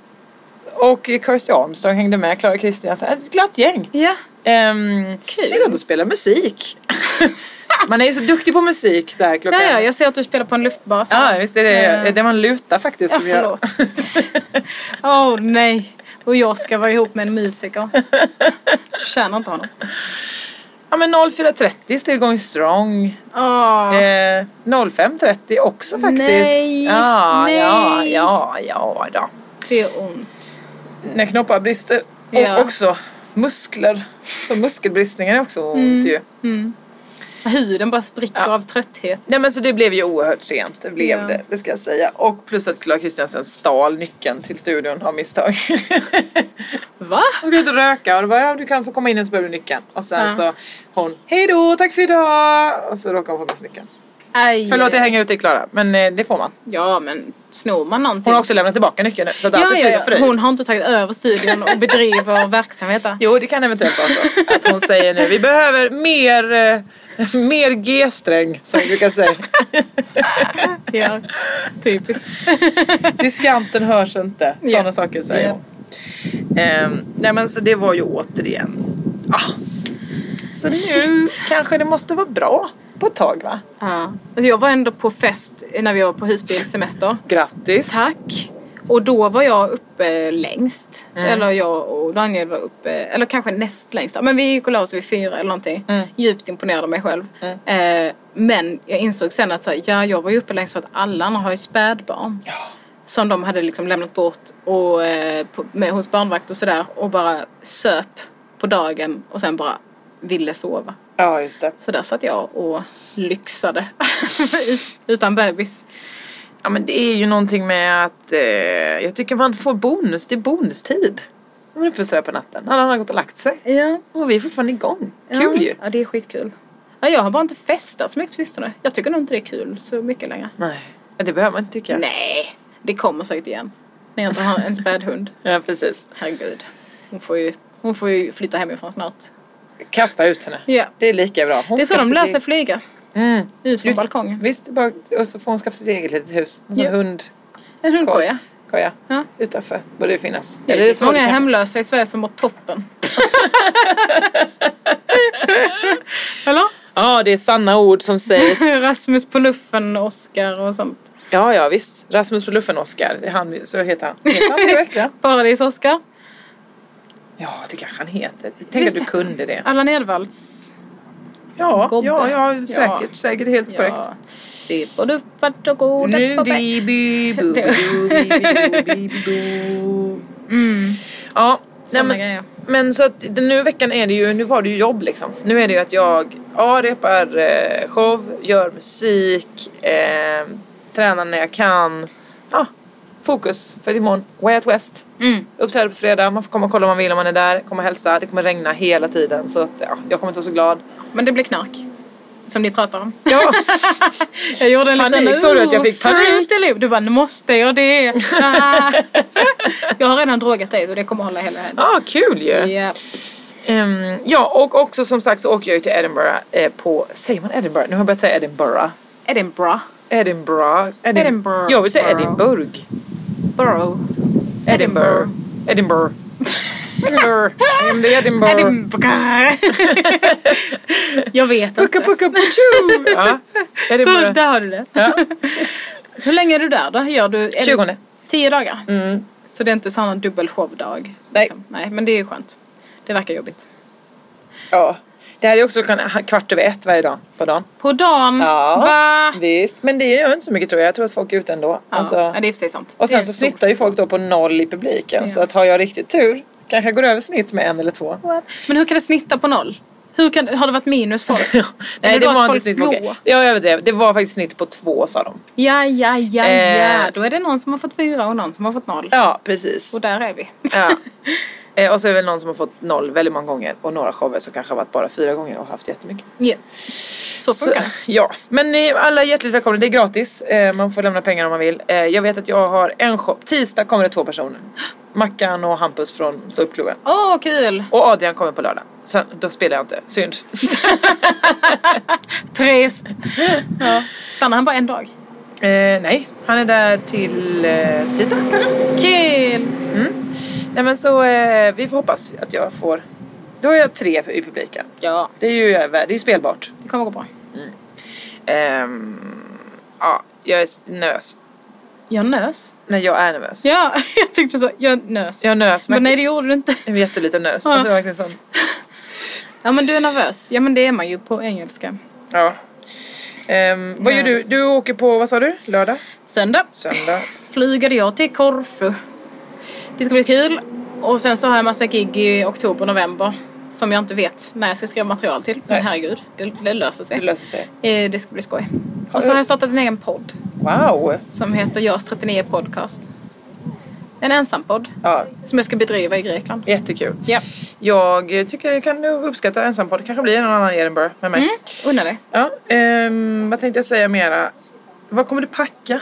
S2: Och Kirsty Armstrong hängde med, Clara Kristiansen, ett glatt gäng.
S3: Ja.
S2: Ehm,
S3: Kul.
S2: Vi satt och spelade musik. Man är ju så duktig på musik där klockan.
S3: Ja, ja, jag ser att du spelar på en luftbas.
S2: Ja, visst är det.
S3: Eh,
S2: Det var en luta faktiskt.
S3: Ja,
S2: som jag-
S3: förlåt. Åh nej. Och jag ska vara ihop med en musiker. Förtjänar inte honom.
S2: Ja men 04.30 still going strong.
S3: Åh.
S2: Eh, 05.30 också faktiskt.
S3: Nej,
S2: Ja,
S3: nej.
S2: ja, ja, ja då.
S3: Det är ont.
S2: När knoppar brister. Och
S3: Ja.
S2: också muskler. Så muskelbristningar är också ont
S3: Mm.
S2: ju.
S3: Huden bara spricker
S2: Ja.
S3: av trötthet.
S2: Nej men så det blev ju oerhört sent. Det blev
S3: Ja.
S2: det, det ska jag säga. Och plus att Clara Kristiansen stal nyckeln till studion av misstag.
S3: Va?
S2: Hon skulle ut och röka och då bara ja, du kan få komma in och så behöver du nyckeln. Och sen
S3: Ja.
S2: så hon hej då, tack för idag. Och så råkade hon få med sig nyckeln.
S3: Aj.
S2: Förlåt jag hänger ut i Clara men eh, det får man.
S3: Ja, men snor man någonting.
S2: Hon har också lämnat tillbaka nyckeln nu så att allt är
S3: ja,
S2: frid och
S3: ja, ja.
S2: fröjd.
S3: Hon har inte tagit över studion och bedriver verksamhet där.
S2: Jo det kan eventuellt vara så att hon säger nu vi behöver mer, eh, mer G-sträng som vi brukar säga.
S3: Ja, typiskt.
S2: Diskanten hörs inte. Sådana
S3: Ja.
S2: saker säger
S3: Ja.
S2: hon. Ehm, nej men så det var ju återigen. Ah. Så nu kanske det måste vara bra på ett tag va?
S3: Ja. Alltså, Jag var ändå på fest när vi var på husbilssemester.
S2: Grattis!
S3: Tack. Och då var jag uppe längst. Eller jag och Daniel var uppe, eller kanske näst längst. Men vi gick och la oss vid fyra eller någonting. Djupt imponerad av mig själv. Eh, men jag insåg sen att så här, ja, jag var ju uppe längst för att alla andra har ju spädbarn. Som de hade liksom lämnat bort och, eh, på, med, hos barnvakt och sådär. Och bara söp på dagen och sen bara ville sova.
S2: Ja just det.
S3: Så där satt jag och lyxade. Utan bebis.
S2: Ja men det är ju någonting med att eh, jag tycker man får bonus, det är bonustid. Man är uppe sådär på natten. Alla har gått och lagt sig.
S3: Ja.
S2: Och vi är fortfarande igång.
S3: Ja.
S2: Kul ju.
S3: Ja, det är skitkul. Ja, jag har bara inte festat så mycket på sistone. Jag tycker nog inte det är kul så mycket längre.
S2: Nej, ja, det behöver man inte tycka.
S3: Nej, det kommer säkert igen. När jag inte har en spädhund.
S2: Ja, precis.
S3: Herregud. Hon får ju, hon får ju flytta hemifrån snart.
S2: Kasta ut henne.
S3: Ja.
S2: Det är lika bra. Hon
S3: Det är så
S2: ska
S3: de
S2: sitt
S3: lär sig
S2: eget-
S3: flyga.
S2: Mm.
S3: Ut från
S2: Du-
S3: balkongen.
S2: Visst, bara, och så får hon skaffa sitt eget litet hus. En sån
S3: Ja.
S2: hundkoja
S3: En hundkoja. Ja.
S2: utanför. Borde det finnas.
S3: Ja, det
S2: Eller
S3: finns
S2: så det
S3: många
S2: kan-
S3: hemlösa i Sverige som mår toppen. Eller?
S2: Ja, det är sanna ord som sägs.
S3: Rasmus på luffen, Oscar och sånt.
S2: Ja, ja visst. Rasmus på luffen-Oskar. Det är han, vi- så heter han. Heter han det verkligen?
S3: Paradis-Oskar.
S2: Ja, det kanske han heter. Tänk att
S3: Visst
S2: du
S3: heter
S2: kunde det.
S3: Allan Edwalls.
S2: Ja,
S3: Gobbe.
S2: ja, ja, säkert. Säkert helt korrekt.
S3: Ja. Se på du vart och goda
S2: Nu
S3: på bä-
S2: di bi bu bu
S3: Det-
S2: du bi bi bu bi bi du.
S3: Mm,
S2: Ja, nej,
S3: såna
S2: men,
S3: grejer.
S2: men så att den nu veckan är det ju, nu var det ju jobb liksom. Nu är det ju att jag, ja, repar eh, show, gör musik, eh, tränar när jag kan. Ja, fokus för imorgon, Way Out West.
S3: Mm.
S2: Uppträder på fredag, man får komma och kolla om man vill om man är där, komma och hälsa, det kommer regna hela tiden så att ja, jag kommer inte vara så glad.
S3: Men det blir knark. Som ni pratar om.
S2: Ja,
S3: Jag gjorde en
S2: Panik,
S3: liten...
S2: såg du att jag fick panik?
S3: panik? Du bara, nu måste jag det. Ah. jag har redan drogat dig så det kommer hålla hela helgen.
S2: ah, kul ju!
S3: Ja.
S2: Ehm, ja, och också som sagt så åker jag ju till Edinburgh eh, på, säger man Edinburgh? Nu har jag börjat säga Edinburgh.
S3: Edinburgh.
S2: Edinburgh. Edin-
S3: Edinburgh.
S2: Jag vill säga
S3: Burrow.
S2: Edinburgh.
S3: Borough.
S2: Edinburgh. Edinburgh. Edinburgh. I'm the Edinburgh.
S3: Edinburgh. jag vet
S2: Pucka
S3: inte.
S2: pucka puchu. Ja.
S3: Så
S2: Edinburgh.
S3: där har du det.
S2: Ja.
S3: Hur länge är du där då? Gör du... är det
S2: 20.
S3: Tio dagar?
S2: Mm.
S3: Så det är inte sån dubbel showdag?
S2: Nej.
S3: liksom? Nej, men det är ju skönt. Det verkar jobbigt.
S2: Ja. Det här är också klockan kvart över ett varje dag på dagen.
S3: På dagen?
S2: Ja.
S3: Mm. Va?
S2: Visst. Men det gör inte så mycket tror jag. Jag tror att folk är ute ändå.
S3: Ja,
S2: Alltså-
S3: ja, det är i och för sig sant.
S2: Och
S3: Det är
S2: sen så
S3: stort.
S2: snittar ju folk då på noll i publiken.
S3: Ja.
S2: Så att har jag riktigt tur kanske jag går över snitt med en eller två.
S3: Men hur kan det snitta på noll? Hur kan, har det varit minus folk?
S2: Nej
S3: Eller
S2: det
S3: bara
S2: var inte
S3: att folk
S2: snitt på...
S3: går.
S2: okej. Jag överdrev. Det var faktiskt snitt på två sa de.
S3: Ja, ja, ja,
S2: Eh.
S3: ja. Då är det någon som har fått fyra och någon som har fått noll.
S2: Ja precis.
S3: Och där är vi.
S2: Ja. Eh, Och så är det väl någon som har fått noll väldigt många gånger och några shower som kanske har varit bara fyra gånger och haft jättemycket.
S3: Ja. Så
S2: Så,
S3: funkar det.
S2: ja, men ni är alla hjärtligt välkomna. Det är gratis. Eh, Man får lämna pengar om man vill. Eh, Jag vet att jag har en show. Tisdag kommer det två personer. Mackan och Hampus från Ståuppklubben.
S3: Åh, kul!
S2: Och Adrian kommer på lördag. Sen, då spelar jag inte. Synd.
S3: Trist! Ja. Stannar han bara en dag?
S2: Eh, nej, han är där till eh, tisdag kanske.
S3: Kul!
S2: Nej men så eh, vi får hoppas att jag får. Då är jag tre i publiken.
S3: Ja,
S2: Det är ju, över- det är ju spelbart.
S3: det kommer gå bra.
S2: Ehm, ja, jag är s- nös.
S3: Jag nös.
S2: Nej, jag är nervös.
S3: Ja, jag tyckte du sa jag nös.
S2: Jag nös,
S3: men
S2: men
S3: nej, det gjorde du inte.
S2: en jätteliten nös.
S3: Ja.
S2: Alltså, det var verkligen sån.
S3: Ja, men du är nervös. Ja, men det är man ju på engelska.
S2: Ja. Ehm, vad gör du?
S3: Nös.
S2: Du åker på, vad sa du? Lördag?
S3: Söndag
S2: Söndag?
S3: flyger jag till Korfu. Det ska bli kul. Och sen så har jag massa gig i oktober, november. Som jag inte vet när jag ska skriva material till. Men
S2: Nej.
S3: herregud, det, det löser sig.
S2: Det löser sig.
S3: Eh, Det ska bli skoj. Och så har jag startat en egen podd.
S2: Wow!
S3: Som heter Görs 39 Podcast. En ensampodd.
S2: Ja,
S3: Som jag ska bedriva i Grekland.
S2: jättekul.
S3: Ja.
S2: Jag eh, tycker jag kan nog uppskatta ensampodd. Det kanske blir en annan Edinburgh med mig.
S3: Mm, undrar det.
S2: Ja, ehm, vad tänkte jag säga mera? Vad kommer du packa?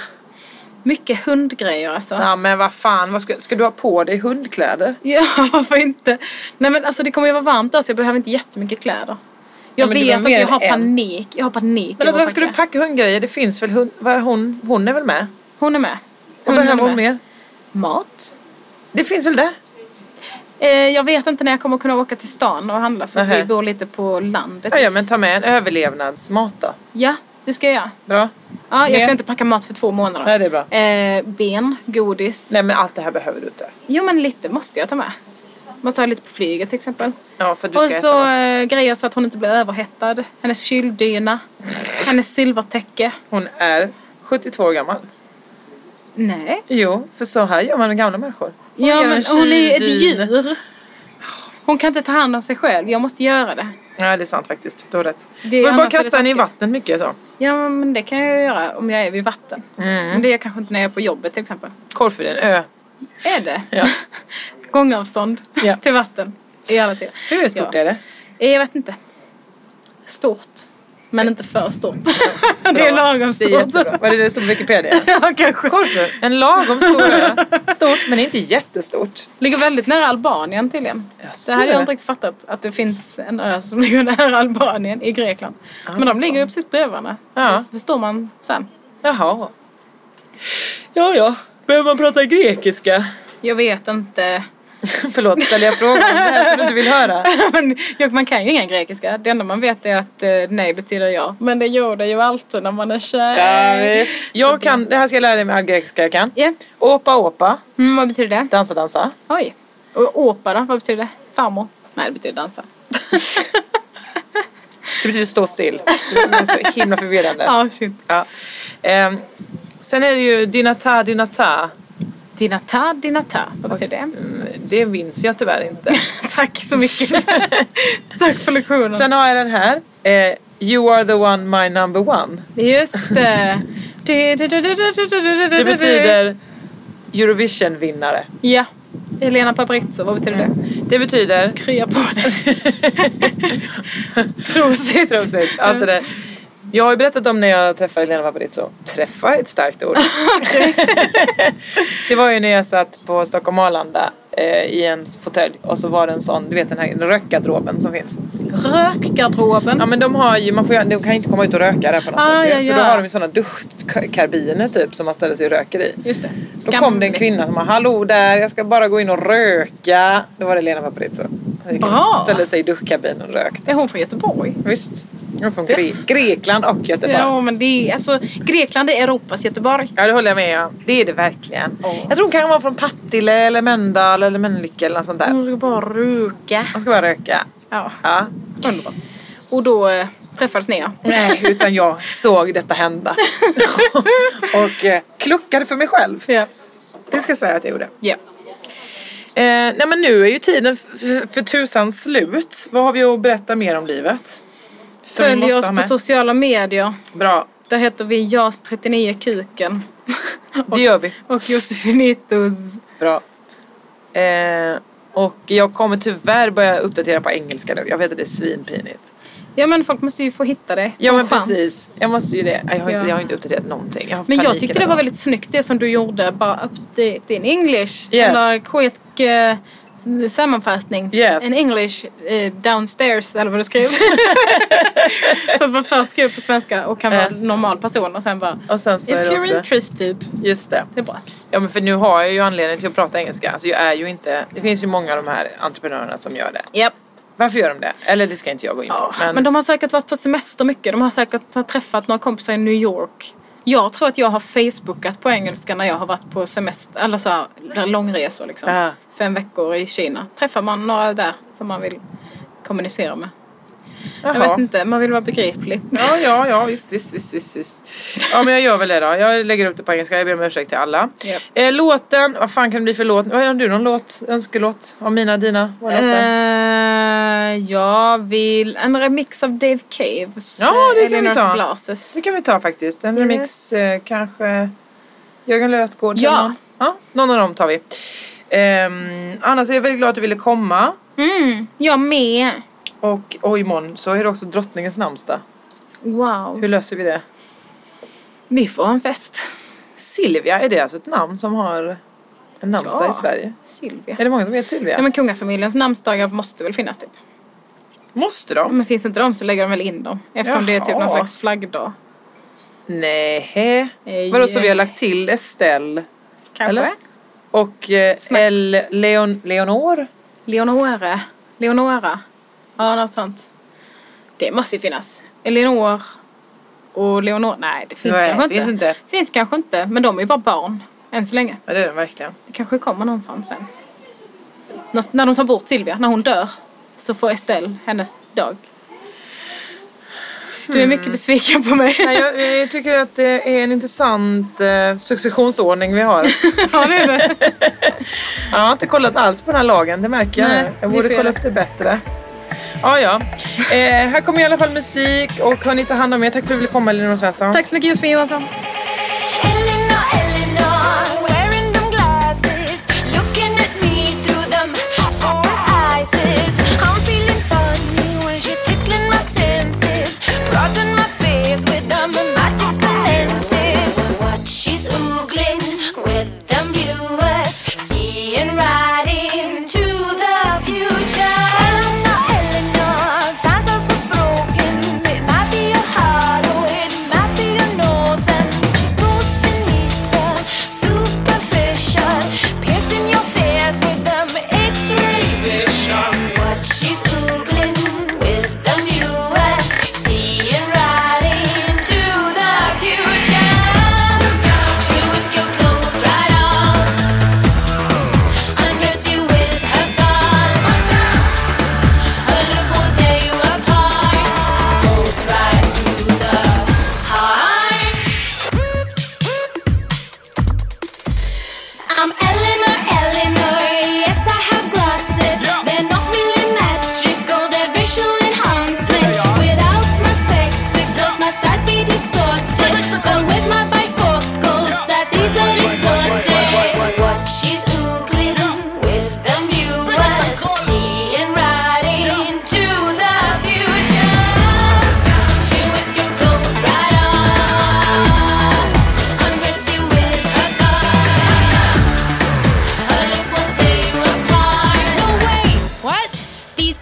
S3: Mycket hundgrejer alltså.
S2: Ja, men vad fan, vad ska, ska du ha på dig hundkläder?
S3: Ja, varför inte? Nej men alltså det kommer ju vara varmt då så jag behöver inte jättemycket kläder. Jag
S2: men det
S3: vet
S2: behöver
S3: att
S2: mer
S3: jag har
S2: än en.
S3: panik. Jag har panik.
S2: Men alltså
S3: över
S2: varför
S3: att
S2: ska du packa hundgrejer? Det finns väl hund, vad, hon, hon är väl med?
S3: Hon är med.
S2: Vad
S3: Hunden
S2: behöver
S3: är
S2: hon mer?
S3: Mat.
S2: Det finns väl där?
S3: Eh, jag vet inte när jag kommer kunna åka till stan och handla för
S2: Nähä.
S3: vi bor lite på landet.
S2: Ja, ja men ta med en överlevnadsmat då.
S3: Ja, det ska jag göra.
S2: Bra.
S3: Ja, jag
S2: Men-
S3: ska inte packa mat för två månader.
S2: Nej det är bra.
S3: Eh, ben, godis.
S2: Nej men allt det här behöver du inte.
S3: Jo men lite måste jag ta med. Måste ha lite på flyget till exempel.
S2: Ja för du ska
S3: Och så
S2: äta något.
S3: eh, grejer så att hon inte blir överhettad. Hennes kyldyna. Hennes silvertäcke.
S2: Hon är 72 år gammal.
S3: Nej.
S2: Jo, för så här gör man med gamla människor. Hon
S3: Ja
S2: gör
S3: men
S2: en
S3: hon är ett
S2: kyldyn.
S3: djur. Hon kan inte ta hand om sig själv. Jag måste göra det.
S2: Nej det är sant faktiskt. Du har rätt.
S3: Det-
S2: men bara
S3: annars är det
S2: kasta henne i
S3: taskigt.
S2: vatten mycket så.
S3: Ja men det kan jag göra om jag är vid vatten.
S2: Mm.
S3: Men det är jag kanske inte när jag är på jobbet till exempel.
S2: Korfu är en ö.
S3: Är det?
S2: Ja.
S3: Gångavstånd
S2: Ja.
S3: till vatten. I alla tider.
S2: Hur stort
S3: Ja.
S2: är det?
S3: Eh, Jag vet inte. Stort. Men inte för stort. det är
S2: Bra.
S3: lagom
S2: Det är
S3: stort.
S2: jättebra. Vad är det det står på Wikipedia?
S3: ja kanske.
S2: Korfu, en lagom stor ö. Stort men inte jättestort.
S3: Ligger väldigt nära Albanien tydligen.
S2: Jaså,
S3: Det hade jag
S2: det.
S3: inte riktigt fattat. Att det finns en ö som ligger nära Albanien i Grekland. Men de ligger ju precis bredvid varandra.
S2: Ja.
S3: Det förstår man sen.
S2: Jaha. Ja, ja. Behöver man prata grekiska?
S3: Jag vet inte.
S2: Förlåt, ställer jag frågor om det här som du inte vill höra?
S3: Men jag- man kan ju ingen grekiska. Det enda man vet är att eh, nej betyder ja. Men det gör det ju alltid när man är tjej.
S2: Ja, visst. Jag kan, det här ska jag lära dig med all grekiska jag kan.
S3: Ja.
S2: Åpa åpa,
S3: Mm, vad betyder det?
S2: dansa dansa.
S3: Oj. Och åpa då? Vad betyder det? Farmor? Nej, det betyder dansa.
S2: Det betyder stå still. Det är som är så himla förvirrande.
S3: Ja, shit.
S2: Ja. Ehm, sen är det ju dinata dinata.
S3: Dinata, dinata. Vad betyder det?
S2: Mm, Det minns jag tyvärr inte.
S3: Tack så mycket. Tack för lektionen.
S2: Sen har jag den här. Eh, you are the one, my number one.
S3: Just det. Du, du, du, du, du, du, du, du, du,
S2: Det
S3: du.
S2: betyder Eurovision-vinnare.
S3: Ja. Elena Paparizou, vad betyder det?
S2: Det betyder...
S3: Krya på dig. Prosit.
S2: Prosit, allt det där. Jag har ju berättat om när jag träffade Lena Paparizou. Träffa är ett starkt ord. det var ju när jag satt på Stockholm Arlanda eh, i en fåtölj och så var det en sån, du vet den här rökgarderoben som finns.
S3: Rökgarderoben.
S2: Ja men de har ju, man får, ju- de kan ju inte komma ut och röka där på något
S3: Ah,
S2: sätt.
S3: ja,
S2: ju. Så
S3: ja.
S2: då har de ju sådana duftkarbiner typ som man ställer sig och röker i.
S3: Just det.
S2: Då kom det en kvinna som bara hallå där, jag ska bara gå in och röka. Då var det Lena Paparizou. Hon gick in,
S3: Bra.
S2: Ställde sig i duftkabinen och rökte.
S3: Är hon från Göteborg?
S2: Visst. Hon är från Gre- Grekland och Göteborg.
S3: Ja, men det är alltså Grekland är Europas Göteborg.
S2: Ja det håller jag med om. Det är det verkligen.
S3: Ja.
S2: Jag tror hon kan vara från Partille eller Mölndal eller Mölnlycke eller något sånt där.
S3: Hon ska bara röka.
S2: Man ska bara röka.
S3: Ja,
S2: Ja.
S3: underbart. Och då eh, träffades ni ja.
S2: Nej, utan jag såg detta hända. och eh, kluckade för mig själv.
S3: Ja.
S2: Det ska jag säga att jag gjorde.
S3: Ja.
S2: Eh, nej men nu är ju tiden f- f- för tusan slut. Vad har vi att berätta mer om livet? Som vi
S3: Följ
S2: måste
S3: oss
S2: ha
S3: på
S2: med?
S3: sociala medier.
S2: Bra,
S3: Där heter vi Jas 39 Kuken. och,
S2: det gör vi.
S3: och Josefinitos.
S2: Bra. Eh, och jag kommer tyvärr börja uppdatera på engelska nu. Jag vet att det är svinpinigt.
S3: Ja men folk måste ju få hitta dig.
S2: Ja
S3: Få
S2: men
S3: en chans.
S2: precis. Jag måste ju det. Jag har inte,
S3: Ja.
S2: jag har inte uppdaterat någonting. Jag har
S3: Men jag
S2: panik
S3: tyckte
S2: idag.
S3: det var väldigt snyggt det som du gjorde. Bara update in English.
S2: Yes.
S3: Eller quick eh, sammanfattning.
S2: Yes.
S3: In English eh, downstairs eller vad du skrev. så att man först skriver på svenska och kan vara
S2: Eh.
S3: en normal person och sen bara
S2: Och sen så
S3: If
S2: är det
S3: you're
S2: också...
S3: interested.
S2: Just det.
S3: Det är bra.
S2: Ja men för nu har jag ju anledning till att prata engelska. Alltså jag är ju inte... Det finns ju många av de här entreprenörerna som gör det.
S3: Japp.
S2: Varför gör de det? Eller det ska inte jag gå in på.
S3: Ja,
S2: men
S3: men... de har säkert varit på semester mycket. De har säkert har träffat några kompisar i New York. Jag tror att jag har facebookat på engelska när jag har varit på semester, eller så här, där långresor liksom.
S2: Ja.
S3: Fem veckor i Kina. Träffar man några där som man vill kommunicera med. Jag vet
S2: Jaha.
S3: inte, man vill vara begriplig.
S2: Ja, ja, ja, visst, visst, visst, visst, visst. Ja, men jag gör väl det då. Jag lägger upp det på engelska. Jag ber om ursäkt till alla.
S3: Japp.
S2: Eh, låten, vad fan kan det bli för låt? Har du någon låt? Önskelåt? Av mina, dina? Vad är låten?
S3: Eh, jag vill en remix av Dave Caves
S2: Ja,
S3: eh,
S2: det kan vi ta.
S3: Glasses.
S2: Det kan vi ta faktiskt. En remix eh, kanske Jörgen Lötgård
S3: Ja.
S2: eller någon. ja. Någon av dem tar vi. Um, annars är jag väldigt glad att du ville komma.
S3: Mm, jag med.
S2: Och, och imorgon så är det också drottningens namnsdag.
S3: Wow.
S2: Hur löser vi det?
S3: Vi får ha en fest.
S2: Silvia, är det alltså ett namn som har en namnsdag
S3: Ja.
S2: i Sverige?
S3: Silvia.
S2: Är det många som heter Silvia?
S3: Ja men kungafamiljens namnsdagar måste väl finnas typ.
S2: Måste
S3: Ja,
S2: de?
S3: men finns inte de så lägger de väl in dem. Eftersom det är typ
S2: Jaha.
S3: någon slags flaggdag.
S2: Nej.
S3: Eh,
S2: Vadå, så vi har lagt till Estelle
S3: Kanske.
S2: Eller? och eh,
S3: Snacks.
S2: El Leon Leonor?
S3: Leonore. Leonora. Ja något sånt. Det måste ju finnas. Eleonor. Och Leonor. Nej det finns
S2: Nej,
S3: kanske
S2: finns
S3: inte.
S2: inte.
S3: Finns kanske inte. Men de är ju bara barn. Än så länge.
S2: Ja, det är den verkligen.
S3: Det kanske kommer någon sån sen. När, när de tar bort Silvia. När hon dör. Så får Estelle hennes dag. Du är mycket besviken på mig.
S2: Nej, jag, jag tycker att det är en intressant eh, successionsordning vi har.
S3: ja, det är det.
S2: Jag har inte kollat alls på den här lagen, det märker jag
S3: Nej,
S2: nu. Jag
S3: det är
S2: borde
S3: fel.
S2: kolla upp det bättre. Ja, ja. Eh, här kommer i alla fall musik och hörni, ta hand om er. Tack för att du ville komma Elinor Svensson.
S3: Tack så mycket Josefin Johansson.
S7: Eleanor, Eleanor, wearing them glasses, looking at me through them four eyes. I'm feeling funny when she's tickling my senses, broaden my face with them magical lenses. What she's oogling with them viewers, seeing right into the future. Eleanor, Eleanor, fancies what's broken. It might be your heart, or it might be your nose, and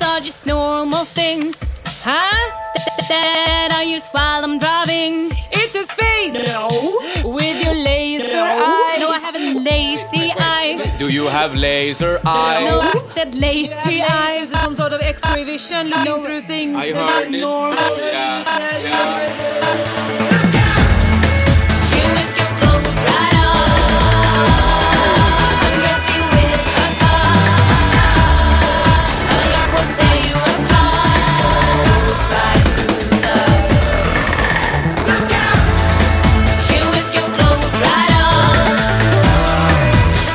S4: are just normal things
S8: Huh?
S4: that- that I use while I'm driving.
S8: Into space! No! With your laser eyes!
S4: No, I have a lazy eye.
S9: Do you have laser eyes?
S4: No, I said lazy eye.
S8: Lasers is some sort of X-ray vision looking through things.
S9: I heard it.
S4: Normal.
S9: Yeah, yeah.
S7: She whisked your clothes right off, undressed you with her thoughts. Her love will tear you apart, goes right through the look out. She whisked your clothes right off,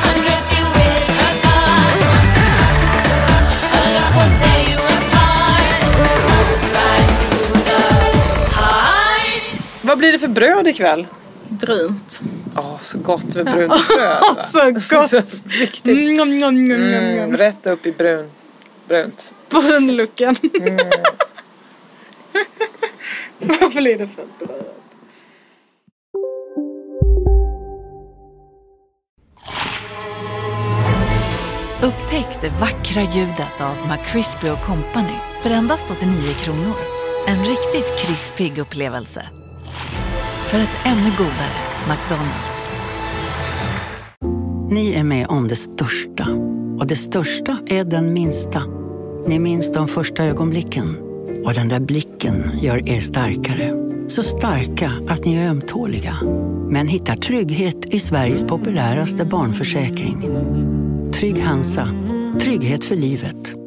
S7: undressed you with her thoughts. Her love will tear you apart, goes right through the heart.
S2: Vad blir det för bröd ikväll?
S3: Brunt.
S2: Åh, så gott med brunt bröd. va?
S3: Så Alltså, gott.
S2: Så riktigt.
S3: Nom, nom, nom, nom,
S2: Mm,
S3: nom.
S2: rätt upp i brun, brunt.
S3: Brunlucken. Varför är det för bröd?
S1: Upptäck det vackra ljudet av McCrispy Company för endast 89 kronor. En riktigt krispig upplevelse. För ett ännu godare McDonalds.
S10: Ni är med om det största. Och det största är den minsta. Ni minns de första ögonblicken. Och den där blicken gör er starkare. Så starka att ni är ömtåliga. Men hittar trygghet i Sveriges populäraste barnförsäkring. Trygg Hansa. Trygghet för livet.